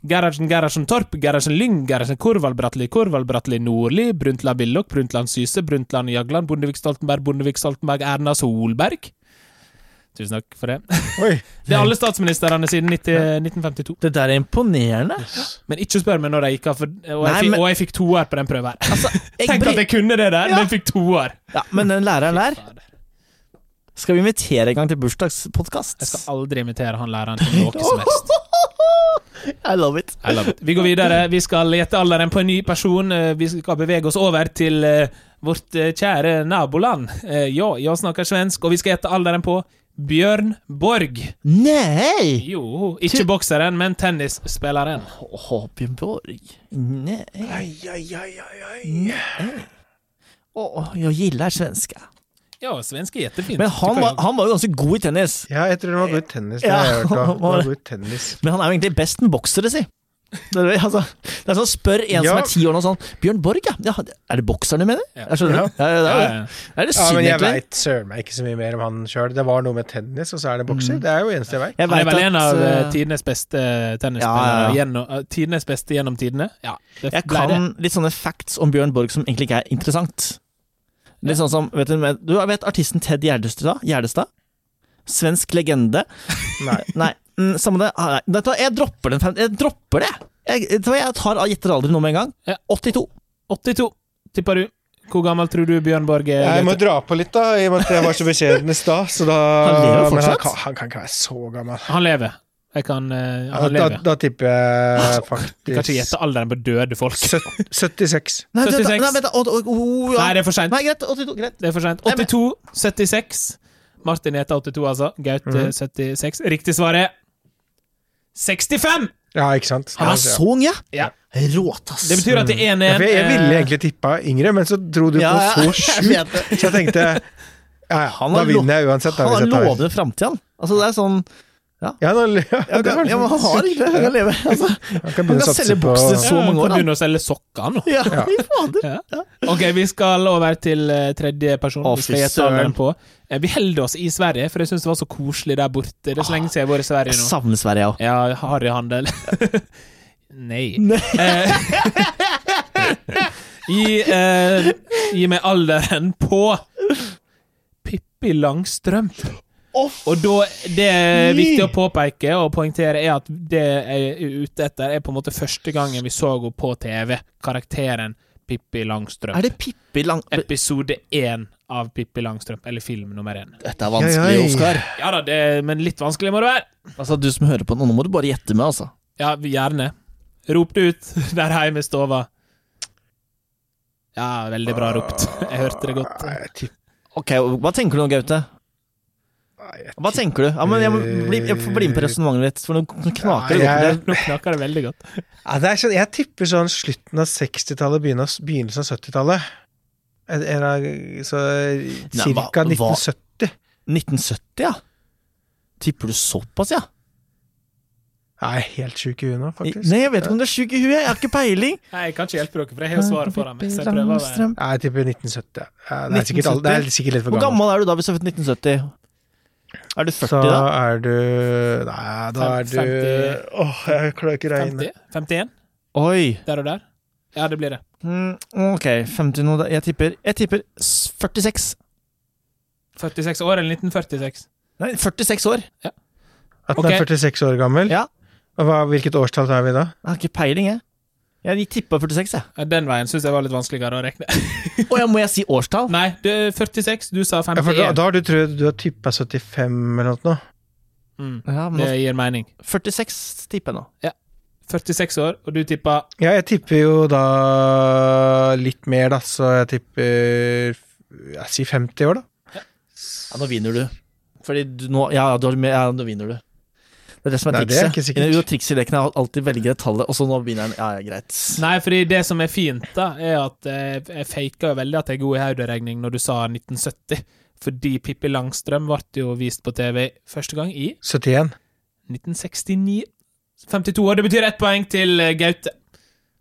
A: Gerhardsen, Gerhardsen Torp, Gerhardsen Lyng, Gerhardsen Korvald Bratteli, Korvald Bratteli Nordli, Brundtland Willoch, Brundtland Syse, Brundtland Jagland, Bondevik Stoltenberg, Bondevik Stoltenberg, Erna Solberg. Tusen takk for det.
C: Oi.
A: Det er alle statsministrene siden 90, 1952.
B: Det der er imponerende.
A: Men ikke spør meg når de gikk av, for, og, jeg
B: Nei,
A: fikk,
B: men-
A: og jeg fikk toer på den prøven her.
B: Jeg
A: Tenk
B: bry-
A: at jeg kunne det der,
B: Ja.
A: men jeg fikk toer.
B: ja, men den læreren der
A: Jeg
B: skal vi invitere en gang til bursdagspodkast.
A: skal aldri invitere han læreren til noe som helst.
B: I love it.
A: I love it. Vi går videre. Vi skal gjette alderen på en ny person. Eh, Vi skal bevege oss over til eh, vårt eh, kjære naboland. Eh, Ja, jeg snakker svensk, og vi skal gjette alderen på Bjørn Borg.
B: Nei!
A: Jo, ikke bokseren, men tennisspilleren.
B: Åh, Bjørn Borg. Nei. Nei. Åh, jag gillar svenska.
A: Ja, svensk er jättefint.
B: Men han
A: tycker
B: var,
A: jag.
B: han var jo ganske god i tennis.
C: Ja, jeg tror det var god i tennis. Det
B: Ja,
C: har jeg hørt da.
B: han
C: Det
B: var
C: var
B: det.
C: god i tennis.
B: Men han er jo egentlig best en boksere, si. Det er, altså, det er sånn, Spør en som
C: Ja.
B: er ti år nå sånn 'Bjørn Borg, ja. ja er det bokseren du mener?'
A: Ja.
B: Jeg skjønner du? Ja, ja, det
A: Ja,
B: er,
A: ja.
B: det. er det
C: Ja,
B: synd,
C: men jeg
B: egentlig.
C: veit søren meg ikke så mye mer om han sjøl. Det var noe med tennis, og så er det bokser. Det er jo eneste jeg veit.
B: Jeg
A: Han er
B: vet
A: vel en
B: at,
A: av eh,
B: eh,
A: tidenes beste
B: Ja, ja,
A: tennisspillere.
B: ja.
A: gjennom- eh, Tidenes beste gjennom tidene. Ja, det
B: Jeg
A: ble det.
B: kan litt sånne facts om Bjørn Borg som egentlig ikke er interessant. Litt sånn som, vet Du men- du vet artisten Ted Gjerdestad? Gjerdestad? Svensk legende.
C: Nei.
B: Nei, mm, samme det. Ah, nei. Vet du hva, Jeg dropper den. fan- Jeg dropper det! Jeg, vet du hva, jeg tar gjetter aldri noe med en gang.
A: Ja.
B: 82.
A: 82, tipper du. Hvor gammel tror du Bjørn Borg er?
C: Jeg må
A: Gaute?
C: dra på litt, da, i og med at jeg var så beskjeden i stad. Så da
B: Han lever
C: Men
B: fortsatt?
C: han kan, han kan ikke være så gammel.
A: Han lever. Jeg kan eh,
C: Da,
A: Han
C: da,
A: lever.
C: da tipper jeg
A: Du kan ikke
C: faktisk
A: gjette alderen på døde folk.
C: søt- 76.
B: Nei, vent da,
A: 76.
B: Nei, vent da, å, å, å, oh, ja.
A: Nei, det er for seint.
B: Nei, greit. 82, greit.
A: Det er for sent. 82, 76. Martin heter 82, altså. Gaute
B: Mhm.
A: 76. Riktig svar er 65!
C: Ja, ikke sant?
B: Han er så ung, ja!
A: Ja.
B: Råt, ass.
A: Det betyr at det er 1-1.
C: Ja, for jeg, jeg ville
A: eh,
C: egentlig tippa yngre, men så dro du
B: Ja, ja,
C: på
B: jeg
C: så sjukt.
B: vet det.
C: Så jeg tenkte Ja, ja,
B: Han
C: da
B: har lo-
C: vinner jeg uansett. Da,
B: Han
C: hvis
B: har
C: jeg tar den.
B: lovende framtida, han. Altså, det er sånn
C: Ja, nå, ja,
B: ja,
C: det var-
B: men Han har ikke det, han kan leve. Altså,
C: Han kan
B: han
C: begynne å
B: kan
C: satse
B: selge
C: på
B: bukser
A: ja,
B: så mange
A: eh, kan
B: år. Han.
A: Begynne å selge sokker nå.
B: Ja, fy fader.
A: Ja. Ok, vi skal over til eh, tredje person.
B: Å,
A: Vi skal
B: fy
A: gjette alderen
B: søren.
A: på. Eh, Vi holder oss i Sverige, for jeg syns det var så koselig der borte. Det er så lenge siden jeg har vært i
B: Jeg
A: Sverige nå.
B: savner Sverige, jeg òg.
A: Ja, harryhandel. Nei.
B: Nei.
A: Eh, gi, eh, gi meg alderen på Pippi Langstrømp. Og da, det er viktig å påpeke og poengtere, er at det jeg er ute etter, er på en måte første gangen vi så henne på TV. Karakteren Pippi Langstrømp.
B: Er det Pippi Lang...
A: Episode én av Pippi Langstrømp, eller film nummer én.
B: Dette er vanskelig,
C: Oi, oi.
B: Oskar.
A: Ja da, det, men litt vanskelig må det være.
B: Altså, du som hører på nå, nå må du bare gjette med, altså.
A: Ja, gjerne. Rop det ut der hjemme i stova. Ja, veldig bra ropt. Jeg hørte det godt.
C: Nei, jeg tipp-
B: Ok, hva tenker du nå, Gaute?
C: nei, jeg
B: Hva tenker du? Ja, men jeg, må bli, jeg får bli med på resonnementet ditt, for nå knaker det
C: Nei,
B: oppi
C: jeg-
B: det.
A: Nå knaker det veldig godt.
C: Ja, det er sånn, jeg tipper sånn slutten av 60-tallet, begynne- begynnelsen av 70-tallet. En- en av- Så
B: hva-
C: cirka
B: hva-
C: 1970.
B: 1970, ja? Tipper du såpass, ja?
C: Jeg er helt sjuk i huet nå,
B: I-
C: faktisk.
B: Nei, jeg vet ikke om du er sjuk i huet, jeg har ikke peiling.
A: Nei, jeg kan ikke hjelpe dere, for jeg har svaret foran meg. Så jeg prøver å være
C: Nei, jeg tipper 1970. Ja, det, er sikkert, all- det er sikkert litt for
B: Hvor
C: gammelt.
B: gammel er du da hvis du er født i 1970? Er du 40
C: Så
B: da?
C: er du Nei, da er du
A: Femti.
C: Åh, jeg klarer ikke å regne.
A: 50? 51?
B: Oi.
A: Der og der? Ja, det blir det.
B: Mm, ok, 50 nå. da. Jeg tipper, jeg tipper s- 46.
A: 46 år eller 1946?
B: Nei, 46 år.
C: At den er
A: Ok.
C: 46 år gammel?
B: Ja.
C: Og hva, hvilket årstall tar vi da?
B: Jeg har ikke peiling, jeg. Jeg tippa 46, jeg.
A: Ja, Den veien syns jeg var litt vanskeligere å regne.
B: Å ja, må jeg si årstall?
A: Nei, du, 46. Du sa
C: Ja, for da,
A: 51.
C: da har du trodd du har tippa 75 eller noe.
A: Mm,
B: Ja, men
A: det gir mening.
B: 46 tipper jeg nå.
A: 46 år, og du tippa
C: Ja, jeg tipper jo da litt mer, da, så jeg tipper Jeg sier 50 år, da.
B: Ja, nå vinner du. Fordi du nå Ja, du har med, ja nå vinner du. Det er det som er
C: Nei, det er
B: trikset.
C: ikke sikkert.
B: Jo, trikset i leken er å alltid velge det tallet, og så nå vinner den. Ja, ja, greit.
A: Nei, fordi det som er fint, da, er at eh, jeg faka jo veldig at jeg er god i hoderegning når du sa 1970. Fordi Pippi Langstrøm ble jo vist på TV første gang i
C: 71.
A: 1969. 52 år. Det betyr ett poeng til eh, Gaute.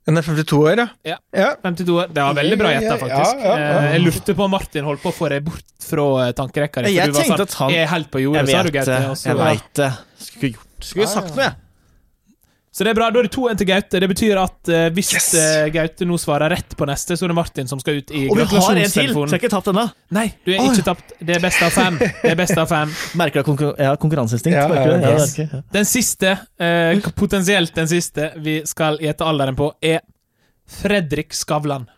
C: Den er 52 år,
A: Ja.
C: ja. ja.
A: 52 år. Det var veldig bra gjetta, faktisk.
C: Ja, ja, ja.
A: Eh, Jeg lurte på om Martin holdt på å få deg bort fra eh, tankerekka di. for
B: Jeg
A: du var sånn,
B: tenkte at han-
A: Jeg er helt på jordet,
B: Jeg
A: sa du,
B: vet det.
A: Gaute. og så-
B: Jeg veit det. Skulle gjort Skulle sagt noe, jeg.
A: Så det er bra. Da er det 2-1 til Gaute. Det betyr at eh, hvis
C: Yes!
A: eh, Gaute nå svarer rett på neste, så er det Martin som skal ut i
B: Og vi har en til! Så jeg
A: gratulasjonstelefonen.
B: har ikke tapt ennå.
A: Nei, du er ikke tapt. Det er best av fem. Det er best av fem.
B: Merker du at konkur jeg har konkurranseinstinkt?
C: Ja,
B: merker du det?
C: ja,
B: Ja,
C: ja.
B: det merker jeg.
A: Den siste, eh, k- potensielt den siste, vi skal gjette alderen på, er Fredrik Skavlan.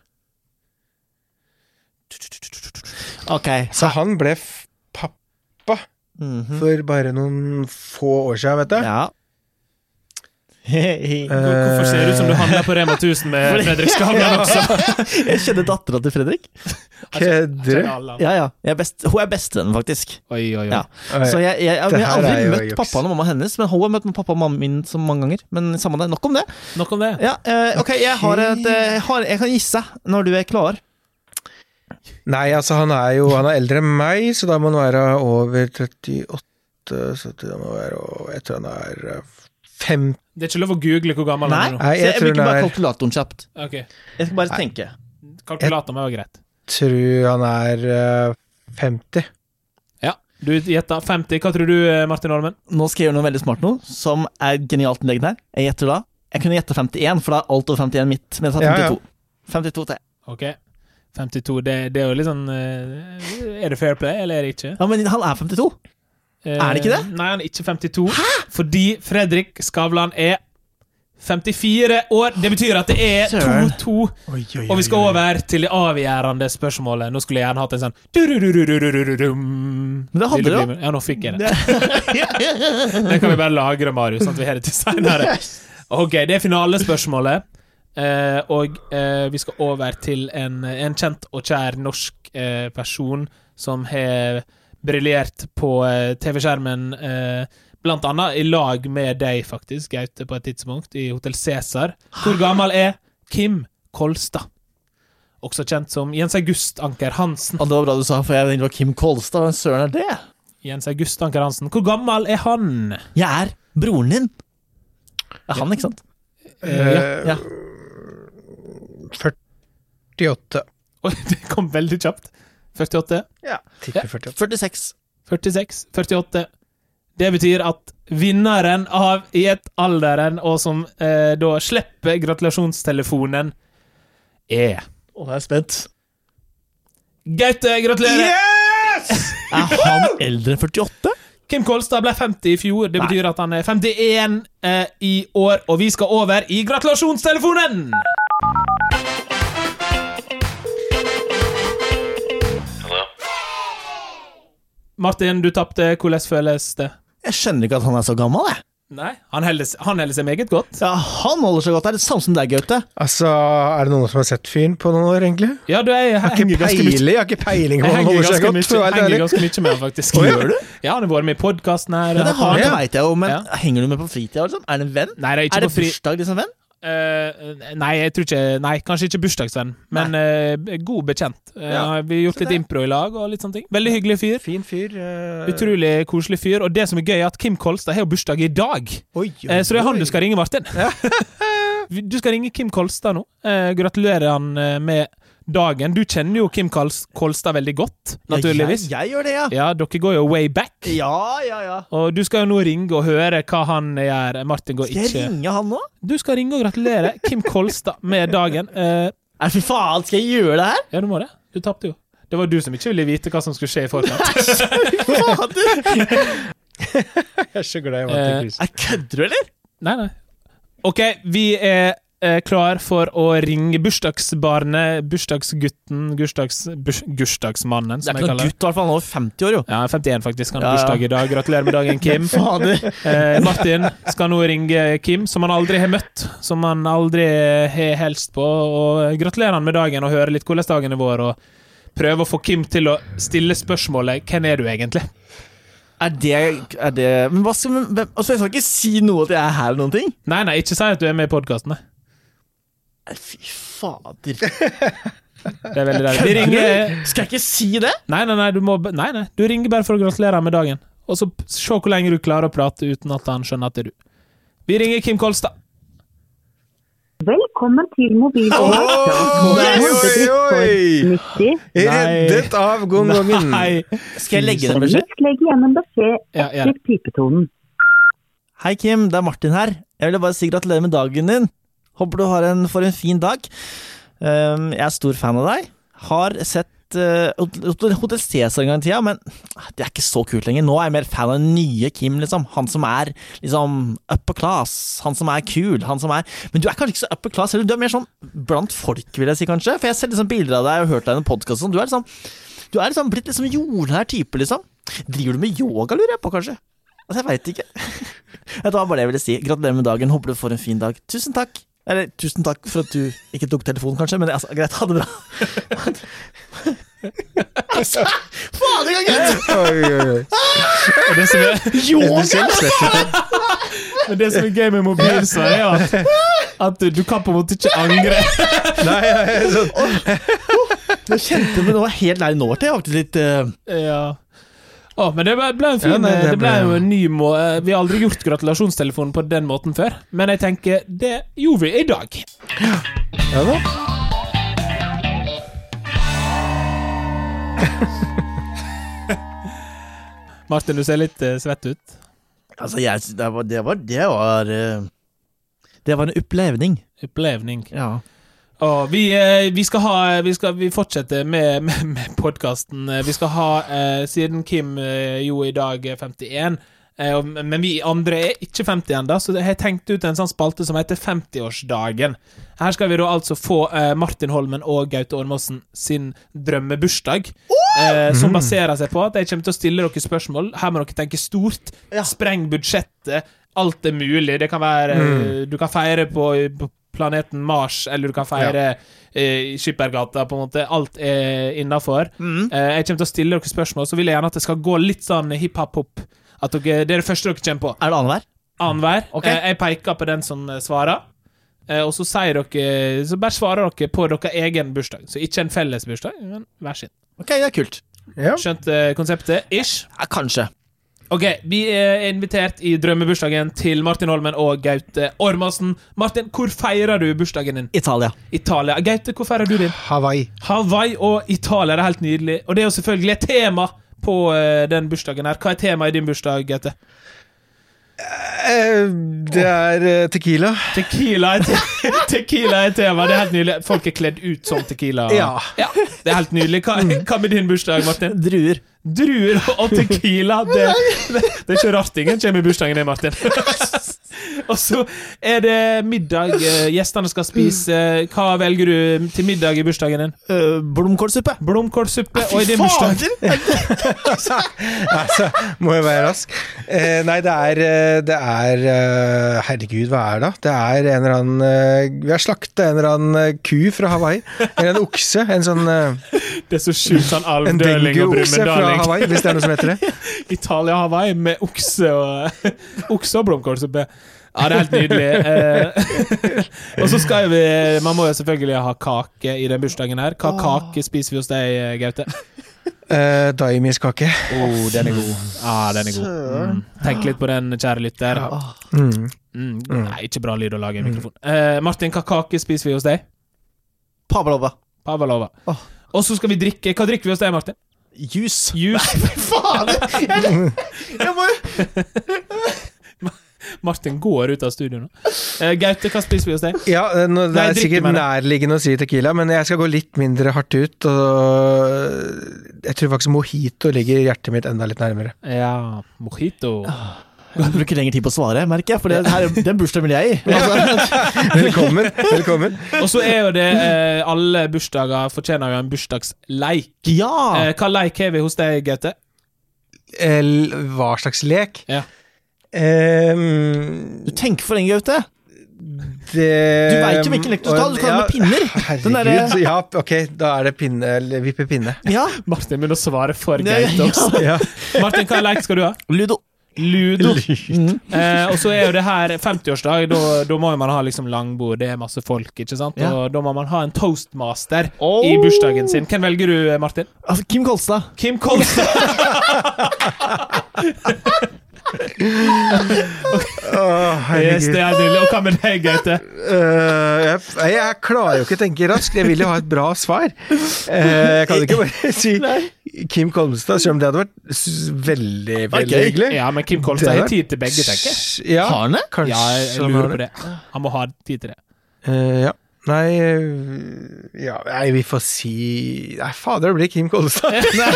B: Ok.
C: Så han ble f pappa
A: Mm.
B: Mhm.
C: for bare noen få år siden, vet du.
B: Ja.
A: Hvor- Hvorfor ser det ut som du handler på Rema 1000 med Fredrik Skavlan også?
B: Jeg kjenner dattera til Fredrik.
C: Eh, Kødder du?
A: Allan.
B: Ja, ja. Jeg er best, hun er bestevennen, faktisk.
A: Oi, oi, oi.
B: Ja. Så jeg, jeg, jeg,
C: Det
B: jeg har
C: her er
B: aldri
C: jo
B: møtt
C: juks.
B: pappaen og mamma hennes, men hun har møtt pappa og mamma min så mange ganger. Men samme det, nok om det.
A: Nok om det.
B: Ja, eh, ok, jeg, har et, eh, jeg, har, jeg kan gisse når du er klar.
C: Nei, altså han er jo han er eldre enn meg, så da må han være over 38 Så da må han være over, Jeg tror han er eh, 50
A: Det er ikke lov å google hvor gammel
B: Nei,
A: han er nå.
C: Nei,
B: så
C: jeg
B: jeg
C: tror
B: bruker bare
C: den er-
B: kalkulatoren kjapt.
A: Ok,
B: Jeg skal bare tenke.
A: Kalkulator må være greit.
C: Tror han er eh, 50.
A: Ja, du gjetta 50. Hva tror du, eh, Martin Ormen?
B: Nå skal jeg gjøre noe veldig smart nå, som er genialt med deg her. Jeg gjetter da. Jeg kunne gjette 51, for da er alt over 51 mitt. Men jeg sa
C: Ja, ja.
B: 52. 52 til.
A: Ok, 52. Det, det er jo litt sånn eh, Er det fair play, eller er det ikke?
B: Ja, men han er 52.
A: Eh,
B: Er det ikke det?
A: Nei, han er ikke 52. Fordi Fredrik Skavlan er 54 år. Det betyr at det er
B: Søren.
A: 2-2. Og vi skal over til det avgjørende spørsmålet. Nå skulle jeg gjerne hatt en sånn du-du-du-du-du-du-du-dum.
B: Men det hadde
A: Lille
B: du, da.
A: Blimmer. Ja, nå fikk jeg det. Det kan vi bare lagre, Marius, sånn at vi har det til seinere. Ok, det er finalespørsmålet. Eh, og eh, vi skal over til en, en kjent og kjær norsk eh, person som har briljert på eh, TV-skjermen, eh, blant annet i lag med deg, faktisk, Gaute, på et tidspunkt, i Hotell Cæsar. Hvor gammel er Kim Kolstad? Også kjent som Jens August Anker Hansen.
B: Og det var bra du sa, for jeg tenkte det var Kim Kolstad. Hvem søren er det?
A: Jens August Anker Hansen. Hvor gammel er han?
B: Jeg er broren din. Det er han, ikke sant?
A: Eh,
B: ja.
C: 48.
A: Oi, det kom veldig kjapt. 48.
C: Ja, tipper 48.
B: 46.
A: 46, 48. Det betyr at vinneren av I ett alderen, og som eh, da slipper gratulasjonstelefonen, er
B: Å, jeg er spent.
A: Gaute, gratulerer!
B: Er han eldre enn 48?
A: Kim Kolstad ble 50 i fjor. Det betyr at han er 51 eh, i år, og vi skal over i gratulasjonstelefonen! Martin, du tapte. Hvordan føles det?
B: Jeg skjønner ikke at han er så gammel, jeg.
A: Nei, han holder, han holder seg meget godt.
B: Ja, han holder seg godt der. Samme som deg, Gaute.
C: Altså, er det noen som har sett fyren på noen år, egentlig?
A: Ja, du jeg
C: Jeg har
A: henger
C: ikke
A: ganske mye
C: peiling, jeg har ikke peiling på
A: Jeg
C: hva han
A: henger
C: holder seg
A: ganske
C: godt, for å
A: mye,
C: være
A: henger
C: ærlig.
A: ganske mye med han, faktisk.
C: Å, gjør du?
A: Ja, han har vært med i podkasten her.
B: Ja, det har han, det veit jeg jo, men
A: Ja.
B: henger du med på fritida, liksom? Er det en venn?
A: Nei, det er ikke
B: er det
A: på fri...
B: bursdag, liksom, venn?
A: Eh, nei, jeg tror ikke Nei, kanskje ikke bursdagsvenn, men eh, god bekjent. Eh,
B: Ja.
A: Vi har gjort litt impro i lag og litt sånne ting. Veldig hyggelig fyr.
C: Fin fyr. eh,
A: Utrolig koselig fyr. Og det som er gøy, er at Kim Kolstad har jo bursdag i dag.
C: Oi, oi,
A: Eh, så det er han du skal ringe, Martin.
C: Ja.
A: Vi- du skal ringe Kim Kolstad nå. Eh, gratulerer han eh, med dagen. Du kjenner jo Kim Kals Kolstad veldig godt, naturligvis.
B: Ja, jeg, jeg gjør det, ja.
A: Ja, dere går jo way back.
B: Ja, ja, ja.
A: Og du skal jo nå ringe og høre hva han gjør. Martin går
B: Skal jeg
A: ikke
B: ringe han nå?
A: Du skal ringe og gratulere Kim Kolstad med dagen. Eh,
B: Nei, fy faen, skal jeg gjøre det her?
A: ja, du må det. Du tapte jo. Det var du som ikke ville vite hva som skulle skje i forkant.
B: Faen, du.
C: Jeg er så
A: Eh,
C: glad i Martin Kruse.
B: Jeg kødder du, eller?
A: Nei, nei. OK, vi er eh, klar for å ringe bursdagsbarnet, bursdagsgutten, bursdags, burs, bursdagsmannen,
B: Det
A: som jeg
B: er ikke noen
A: kaller det.
B: gutt, i hvert fall. Han er over 50 år, jo.
A: Ja, 51 faktisk. Han har
B: Ja, ja.
A: bursdag i dag. Gratulerer med dagen, Kim.
B: Fader.
A: Eh, Martin skal nå ringe Kim, som han aldri har møtt, som han aldri har helst på. Og gratulerer han med dagen og høre litt hvordan dagen er vår, og prøve å få Kim til å stille spørsmålet 'Hvem er du egentlig?'
B: Er det, er det Men hva skal men, hvem- Altså, jeg skal ikke si noe at jeg er her eller noen ting.
A: Nei, nei, ikke si at du er med i podkasten.
B: Nei, Fy fader.
A: Det er veldig deilig. Vi ringer
B: Skal jeg ikke si det?
A: Nei, nei, nei, du må b- Nei, nei, du ringer bare for å gratulere han med dagen. Og så p- se hvor lenge du klarer å prate uten at han skjønner at det er du. Vi ringer Kim Kolstad.
E: Velkommen til mobilbanken.
C: oi,
E: 90.
C: Reddet av gongongen.
A: Nei.
B: Skal jeg legge den beskjed?
E: Vennligst legg igjen en beskjed
A: Ja, ja.
E: etter pipetonen.
B: Hei, Kim. Det er Martin her. Jeg ville bare si gratulerer med dagen din. Håper du har en, får en fin dag. Ehm, jeg er stor fan av deg. Har sett eh, Hot- Hotel Cæsar en gang i tida, men det er ikke så kult lenger. Nå er jeg mer fan av den nye Kim, liksom. Han som er liksom upper class, han som er kul, han som er Men du er kanskje ikke så upper class heller, du er mer sånn blant folk, vil jeg si, kanskje. For jeg har sett liksom bilder av deg og hørt deg i en podkast, sånn. du er liksom Du er liksom blitt liksom jordnær type, liksom. Driver du med yoga, lurer jeg på, kanskje? Altså, jeg veit ikke. Dette var bare det jeg ville si. Gratulerer med dagen, håper du får en fin dag. Tusen takk. Eller tusen takk for at du ikke tok telefonen, kanskje, men altså, greit, ha det bra. altså, faen, det er greit!
C: Oi, oi, oi.
A: Og det som er,
B: Yoga!
A: men det som er gøy med mobilsvar, er at, at du, du kan på en måte ikke angre.
C: Nei, jeg er sånn
B: Jeg kjente meg nå helt nær nå til. Jeg ble litt eh,
A: Ja. Å, men det ble, ble en fin eh,
C: Ja, nei,
A: det,
C: det
A: ble
C: ble-
A: jo en ny må... eh, Vi har aldri gjort gratulasjonstelefonen på den måten før, men jeg tenker det gjorde vi i dag.
C: Ja da.
A: Martin, du ser litt eh, svett ut.
B: Altså, jeg, det var Det var Det var, eh, det var en opplevning.
A: Opplevning.
B: Ja.
A: Og vi, eh, vi skal ha Vi, skal, vi fortsetter med, med, med podkasten. Vi skal ha eh, Siden Kim eh, jo i dag er 51, eh, og- men vi andre er ikke 50 ennå, så jeg har tenkt ut en sånn spalte som heter 50-årsdagen. Her skal vi da altså få eh, Martin Holmen og Gaute Ormåsen sin drømmebursdag. Eh, som baserer seg på at jeg kommer til å stille dere spørsmål. Her må dere tenke stort.
B: Ja.
A: Spreng budsjettet. Alt er mulig. Det kan være eh, Du kan feire på, på planeten Mars, eller du kan feire eh, i Skippergata, på en måte. Alt er innafor. Eh, jeg kommer til å stille dere spørsmål, så vil jeg gjerne at det skal gå litt sånn hiphop-hop. At dere, det er det første dere kommer på.
B: Er det annenhver?
A: Annenhver.
B: Ok.
A: Eh, jeg peker på den som eh, svarer. Eh, og så sier dere Så bare svarer dere på deres egen bursdag. Så ikke en felles bursdag, men hver sin.
B: Ok, det er kult.
C: Ja.
A: Skjønt eh, konseptet? Ish.
B: Ja, kanskje.
A: Ok, vi er invitert i drømmebursdagen til Martin Holmen og Gaute Ormåsen. Martin, hvor feirer du bursdagen din?
B: Italia.
A: Italia. Gaute, hvor feirer du din?
C: Hawaii.
A: Hawaii og Italia, det er helt nydelig. Og det er jo selvfølgelig et tema på eh, den bursdagen her. Hva er temaet i din bursdag, Gaute?
C: Eh, Det er eh, tequila.
A: Tequila er, te tequila er tema, det er helt nydelig. Folk er kledd ut som tequila.
C: Ja.
A: det er helt nydelig. Hva, hva med din bursdag, Martin?
B: Druer.
A: Druer og tequila. Det, det, det er ikke rart ingen kommer i bursdagen din, Martin. og så er det middag. eh, Gjestene skal spise. Hva velger du til middag i bursdagen din?
B: Uh, blomkålsuppe.
A: Blomkålsuppe. Og i din bursdag
C: Altså, må jeg være rask. Eh, nei, det er, eh, det er eh, Herregud, hva er det? da? Det er en eller annen eh, Vi har slakta en eller annen eh, ku fra Hawaii. Eller en okse. En sånn eh,
A: Det er så sjukt sånn
C: En
A: alvdøling og
C: dengueokse fra
A: brumundaling.
C: Hawaii, hvis det er noe som heter det.
A: Italia og Hawaii med okse og, okse og blomkålsuppe. Ja, det er helt nydelig. Eh, og så skal vi Man må jo selvfølgelig ha kake i den bursdagen her. Hva kake spiser vi hos deg, Gaute?
C: Eh, Daimiskake.
A: Oh, den er god. Ja, den er god. Mm. Tenk litt på den, kjære lytter.
C: Mm.
A: Mm. Nei, ikke bra lyd å lage i mikrofon. Eh, Martin, hva kake spiser vi hos deg?
B: Pavlova.
A: Pavalova.
B: Åh.
A: Og så skal vi drikke. Hva drikker vi hos deg, Martin?
B: Juice.
A: Juice.
B: Fy faen! Jeg, jeg må jo
A: Martin går ut av studio nå. Eh, Gaute, hva spiser vi hos deg?
C: Ja, eh, nå, det
A: Nei,
C: er
A: drikke
C: sikkert
A: med det.
C: nærliggende å si tequila, men jeg skal gå litt mindre hardt ut. Og jeg tror faktisk mojito ligger hjertet mitt enda litt nærmere.
A: Ja, mojito.
B: Ah. bruker lengre tid på å svare, merker jeg, for det, her, den bursdagen vil jeg i. Altså,
C: Velkommen. velkommen
A: Og så er jo det eh, Alle bursdager fortjener jo en bursdagsleik.
B: ja!
A: Eh, hva leik har vi hos deg, Gaute?
C: El, hva slags lek?
A: Ja.
C: Ehm,
B: Du tenker for lenge, Gaute.
C: det
B: Du veit jo hvilken lek du skal. Du skal ha med pinner. Den
C: Herregud.
B: derre-
C: Ja, ok, da er det pinne, eller vippe pinne.
B: Ja.
A: Martin begynner å svare for
B: Ja,
A: Gaute også.
C: Ja.
A: Martin, hva leik skal du ha?
B: Ludo.
A: Ludo. Eh, og så er jo det her 50-årsdag, da, da må jo man ha liksom langbord, det er masse folk, ikke sant?
B: Ja.
A: Og da må man ha en toastmaster i bursdagen sin. Hvem velger du, eh, Martin?
B: Altså, Kim Kolstad.
A: Kim Kolstad.
C: Å,
A: Yes,
C: herregud.
A: det er nydelig. Og hva med deg, Gaute?
C: Eh, jeg, jeg klarer jo ikke å tenke raskt. Jeg vil jo ha et bra svar. Eh, jeg kan jo ikke bare si Kim Kolmstad, selv om det hadde vært s- veldig,
B: var
C: veldig
B: gøy.
C: hyggelig.
A: Ja, men Kim Kolstad
C: Det
A: har
C: er-
A: tid til begge, tenker jeg.
C: Ja,
B: Har han det?
C: kanskje
A: Ja, jeg
C: han har
A: lurer på det. Han må ha tid til det.
C: Eh, ja. Nei eh, ja, Nei, vi får si Nei, fader, det blir Kim Kolstad. Nei.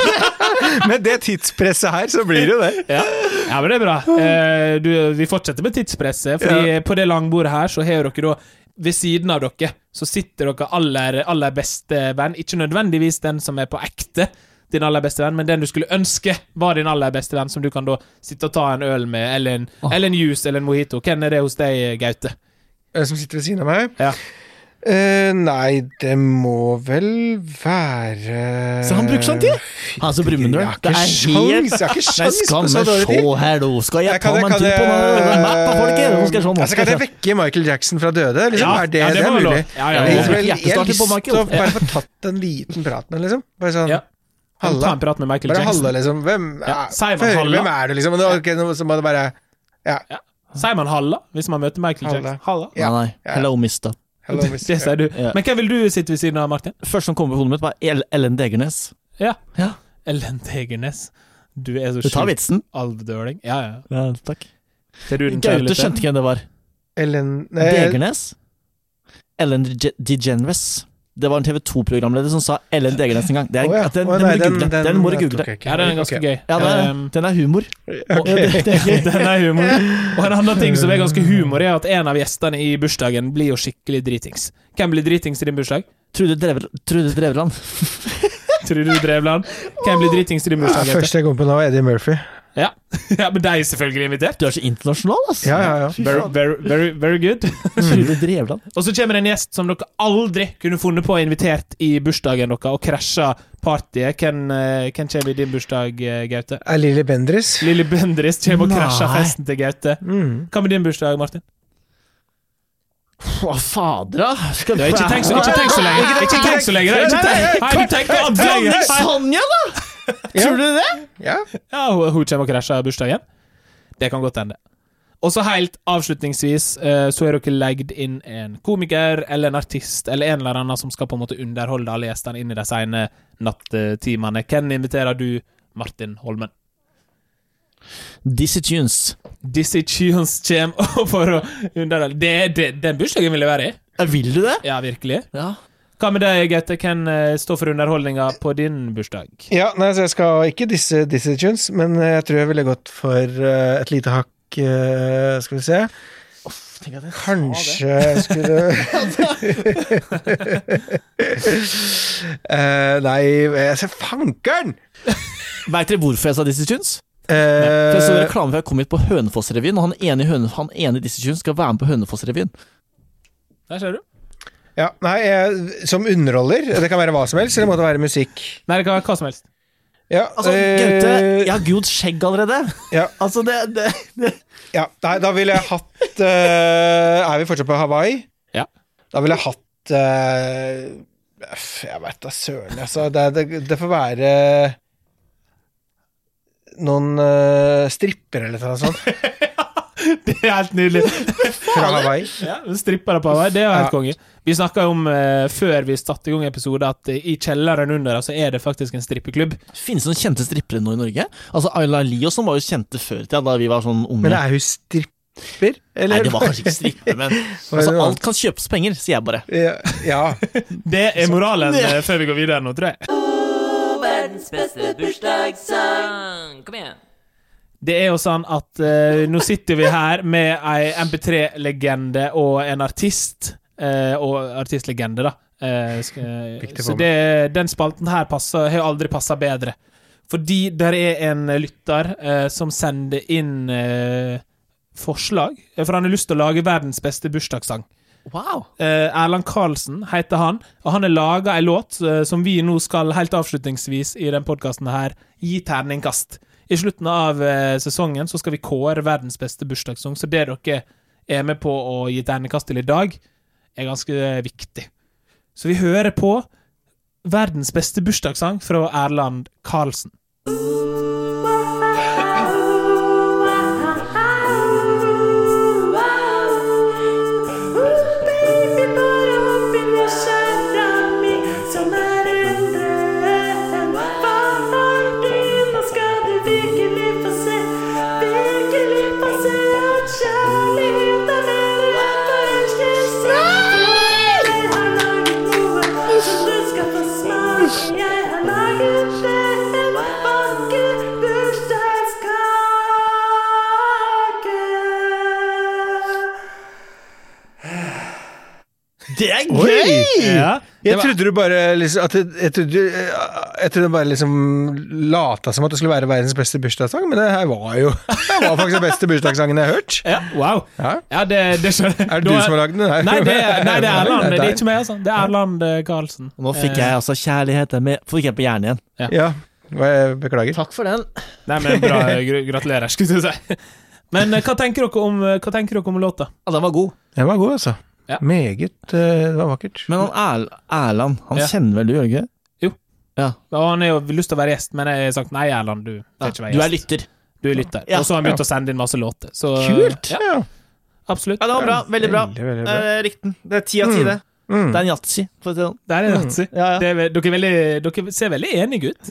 C: Med det tidspresset her, så blir det jo det.
A: Ja, ja men det er bra. Eh, du, vi fortsetter med tidspresset, Fordi på det langbordet her så har dere da ved siden av dere så sitter dere aller, aller beste venn. Ikke nødvendigvis den som er på ekte din aller beste venn, men den du skulle ønske var din aller beste venn, som du kan da sitte og ta en øl med, eller en, eller en juice eller en mojito. Hvem er det hos deg, Gaute?
C: Eh, Som sitter ved siden av meg.
A: Ja.
C: Eh, nei, det må vel være
B: Så han bruker sånn tid? Altså, Brumunddøl,
C: Jeg har ikke
B: det er
C: sjans,
B: helt-
C: jeg har ikke
B: Nei,
C: sjans
B: skal
C: på
B: vi
C: så dårlig tid.
B: se her, nå skal jeg ta
C: kan-
B: meg en
C: kan
B: tur på
C: jeg-
B: den mappa, folket! Nå skal sånn jeg se, nå
C: Altså, kan
B: skal
C: jeg
B: jeg se.
C: vekke Michael Jackson fra døde? Liksom,
A: Ja,
C: er det,
A: ja, det må
C: det, er
A: være lov.
C: mulig?
A: Ja, ja,
B: ja.
C: Jeg har vel- jeg har
B: Hjertestarter på
C: lyst til å
B: Michael.
C: bare få tatt en liten prat med ham, liksom. Bare sånn
A: Ja. Ta
C: Halla.
A: en prat med Michael
C: Bare halla,
A: Jackson.
C: liksom. Hvem,
A: Ja,
C: er-
A: si meg
C: få høre,
A: halla.
C: hvem er du, liksom? Og da, ok, nå- så må det bare
A: Sier man halla hvis man møter Michael
C: Halla.
A: Jackson? Halla.
C: Ja.
B: Nei, nei. Hello, mister.
C: Hello,
A: Det
C: miss.
A: sier du.
B: Ja.
A: Men hvem vil du sitte ved siden av, Martin?
B: Første som kommer på hodet mitt, var El- Ellen Degernes.
A: Ja.
B: Ja.
A: Ellen Tegernes. Du er så
B: Du tar
A: sjukt
B: vitsen.
A: Alvdøling? Ja, ja.
B: Ja, takk.
A: Ser du den kjære
B: Gaute
A: lytter?
B: skjønte ikke hvem det var.
C: Ellen nei,
B: Degernes? Ellen Dege- DeGeneres. Det var en TV 2-programleder som sa Ellen Degernes en gang. Det er,
C: Å ja.
B: den,
C: Å,
B: den, må
C: nei,
B: du google. Den, må du
C: den
B: google.
C: tok jeg ikke.
A: Ja, den er ganske
C: Ok.
A: gøy.
B: Ja, det er,
A: Um,
B: den er humor. Og- ja, det- det er gøy.
A: den er humor. Og en annen ting som er ganske humor, er at en av gjestene i bursdagen blir jo skikkelig dritings. Hvem blir dritings i din bursdag?
B: Trude, Drevl Trude Drevland.
A: Trude Drevland. Hvem blir dritings i din
C: Ja,
A: bursdag? Gaute?
C: første jeg kom på nå, er Eddie Murphy.
A: Ja. ja, men deg er selvfølgelig invitert.
B: Du er så internasjonal, altså.
C: Ja, ja, ja.
A: Very, very, very, very good.
B: Trude Drevland.
A: Og så kommer det en gjest som dere aldri kunne funnet på å invitert i bursdagen deres, og krasjer partyet. Hvem, eh, hvem kommer i din bursdag, eh, Gaute?
C: Er Lilly Bendriss.
A: Lilly Bendriss kommer og krasjer
B: Nei.
A: festen til Gaute.
C: Mm.
A: Hva med din bursdag, Martin?
B: Å, fader, da. Skal
A: Ja, ikke tenk så, ikke tenk så lenge. Ikke tenk så lenge. da. Ikke tenk. Nei, du tenker at
B: Dronning
A: det er-
B: Sonja, da! Tror du det?
C: Ja.
A: Ja, hun hun kommer og krasjer bursdagen. Det kan godt hende. Og så helt avslutningsvis, eh, så er dere legd inn en komiker eller en artist eller en eller annen som skal på en måte underholde alle gjestene inn i de sene nattetimene. Hvem inviterer du, Martin Holmen?
B: Dizzie Tunes.
A: Dizzie Tunes kommer for å underholde det, det, Den bursdagen vil jeg være i.
B: Ja, Vil du det?
A: Ja, virkelig.
B: Ja.
A: Hva med deg, Gaute? Hvem eh, står for underholdninga på din bursdag?
C: ja, nei, så jeg skal ikke disse Dizzie Tunes, men eh, jeg tror jeg ville gått for eh, et lite hakk eh, Skal vi se Kanskje jeg skulle Eh, Nei, jeg ser fankeren!
B: Veit dere hvorfor jeg sa Dizzie Tunes?
C: Eh,
B: For jeg så reklame for jeg kom hit på Hønefoss-revyen, og han ene i Høne- han ene i Dizzie Tunes skal være med på Hønefoss-revyen.
A: Der ser du.
C: ja, nei, jeg, som underholder. Det kan være hva som helst, eller må det være musikk?
A: Nei, det kan være hva som helst.
C: Ja,
B: Altså,
C: eh,
B: Gaute, jeg har grodd skjegg allerede.
C: Ja.
B: Altså, det, det, det.
C: Ja, nei, da ville jeg hatt eh, Er vi fortsatt på Hawaii?
A: Ja.
C: Da ville jeg hatt eh, f- Jeg veit da søren, altså. Det, det, det får være noen uh, strippere eller noe sånt
A: Det er helt nydelig.
C: fra Hawaii.
A: Ja, Stripper på vei, det er jo helt
C: Ja.
A: konge. Vi snakka om eh, før vi satte i gang episode, at eh, i kjelleren under der, så er det faktisk en strippeklubb.
B: Finnes det noen kjente strippere nå i Norge? Altså, Ayla Lie og sånn var jo kjente før i tida, da vi var sånn unge.
C: Men er hun stripper,
B: Nei,
C: eller?
B: det var kanskje ikke strippe, men altså, alt kan kjøpes penger, sier jeg bare.
C: Ja, ja.
A: Det er moralen eh, før vi går videre nå, tror jeg.
G: Verdens beste bursdagssang. Kom igjen.
A: Det er jo sånn at eh, nå sitter vi her med ei MP3-legende og en artist. eh, og artistlegende, da. Eh, sk- eh,
C: Viktig for
A: så det, den spalten her passer, har aldri passa bedre. Fordi der er en lytter eh, som sender inn eh, forslag. eh, For han har lyst til å lage verdens beste bursdagssang.
B: Wow.
A: Eh, Erland Karlsen heter han, og han har laga ei låt eh, som vi nå skal helt avslutningsvis i den podkasten her gi terningkast. I slutten av eh, sesongen så skal vi kåre verdens beste bursdagssang, så det dere er med på å gi terningkast til i dag, er ganske eh, viktig. Så vi hører på verdens beste bursdagssang fra Erland Karlsen.
H: Som er en drøm, hva var
B: Det er
C: Oi!
B: gøy!
A: Ja.
C: Jeg trodde du bare liksom, at det, jeg, trodde, jeg trodde bare liksom lata som at det skulle være verdens beste bursdagssang, men det her var jo Det var faktisk den beste bursdagssangen jeg har hørt.
A: Ja, wow.
C: Ja.
A: Ja, det, det skjønner jeg.
C: Er det du
A: Da-
C: som har lagd den?
A: Nei, det er, nei, det er Erland. Det
C: deg.
A: er ikke meg, altså. Det er Erland eh, Karlsen.
B: Nå fikk jeg altså kjærlighet med Fikk jeg på hjernen igjen.
C: Ja, hva- jeg beklager.
B: Takk for den.
A: Nei, men bra. gr- Gratulerer, skulle jeg si. Men eh, hva tenker dere om, eh, hva tenker dere om låta?
B: Ja, den var god.
C: Den var god, altså.
A: Ja.
C: Meget. eh, Det var vakkert.
B: Men han Erl Erland, han
A: Ja.
B: kjenner vel du, gjør du ikke?
A: Og han har jo lyst til å være gjest, men jeg har sagt nei, Erland, du får ikke være
B: Du
A: gjest.
B: er lytter.
A: Du er lytter.
B: Ja.
A: Og så har han begynt å sende inn masse låter. Så,
B: Kult!
A: Ja,
C: Ja.
A: absolutt.
B: Ja, det var bra. Veldig bra.
C: Veldig, veldig bra.
B: Eh, Riktig. Det er ti av ti, det.
C: Mm.
B: Det er en yatzy, for å si det sånn.
A: Det er en nazi.
B: Ja, ja.
A: Det er, ve- dere, er veldig, dere ser veldig enige ut.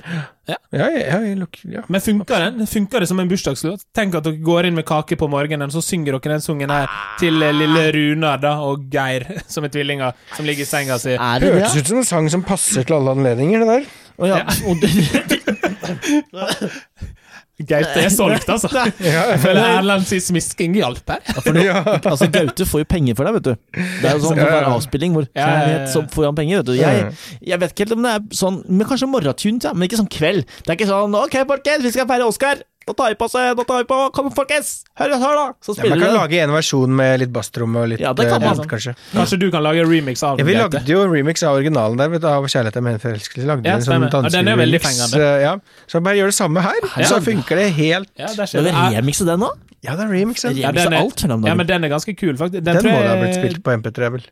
C: Ja, ja, ja, jeg luk- ja.
A: Men funker den? Funker det som en bursdagslåt? Tenk at dere går inn med kake på morgenen, så synger dere den sungen her til eh,
B: Ah.
A: lille Runar da, og Geir, som er tvillinger, som ligger i senga si.
B: Er det
C: Hørtes
B: det?
C: ut som en sang som passer til alle anledninger, det der.
B: Å, ja. Og det-
A: Gaute er solgt, altså. Jeg føler Erland sin smisking hjalp her.
C: Ja.
B: altså, Gaute får jo penger for deg, vet du. Det er jo sånn
C: Ja, ja.
B: hver avspilling hvor
A: Ja, ja, ja.
B: kjærlighet, så får han penger, vet du. Jeg, jeg vet ikke helt om det er sånn Men kanskje morgentunes, ja. Men ikke sånn kveld. Det er ikke sånn Ok, folkens, vi skal feire Oscar. Nå tar vi på seg Nå tar vi på Kom, folkens! Hør, hør, da! Så
C: Ja, man
B: spiller
C: kan
B: du den.
C: lage en versjon med litt basstromme og litt
B: Ja, det kan
C: eh,
B: man.
C: rent, kanskje.
A: Kanskje du kan lage remix av
C: Ja,
A: den,
C: vi
A: Gaute?
C: lagde jo en remix av originalen der, vet du, av 'Kjærlighet er med en forelskelse'. Lagde
A: Ja,
C: en sånn
A: stemmer. Ja, den er veldig
C: danskeremix.
A: fengende.
C: eh, Ja. Så bare gjør det samme her,
A: Ja.
C: så funker det helt
A: Ja, der
B: Skal
A: skjer
B: vi
A: det. Er-
B: remikse den nå?
C: Ja, det er remix, ja.
B: Remix
A: Ja, den
B: av
A: er-
B: alt, hører
A: Ja,
B: jeg om
A: men den er ganske kul, faktisk. Den,
C: Den
A: tror
C: må
A: jeg...
C: da ha blitt spilt på MP3, vel.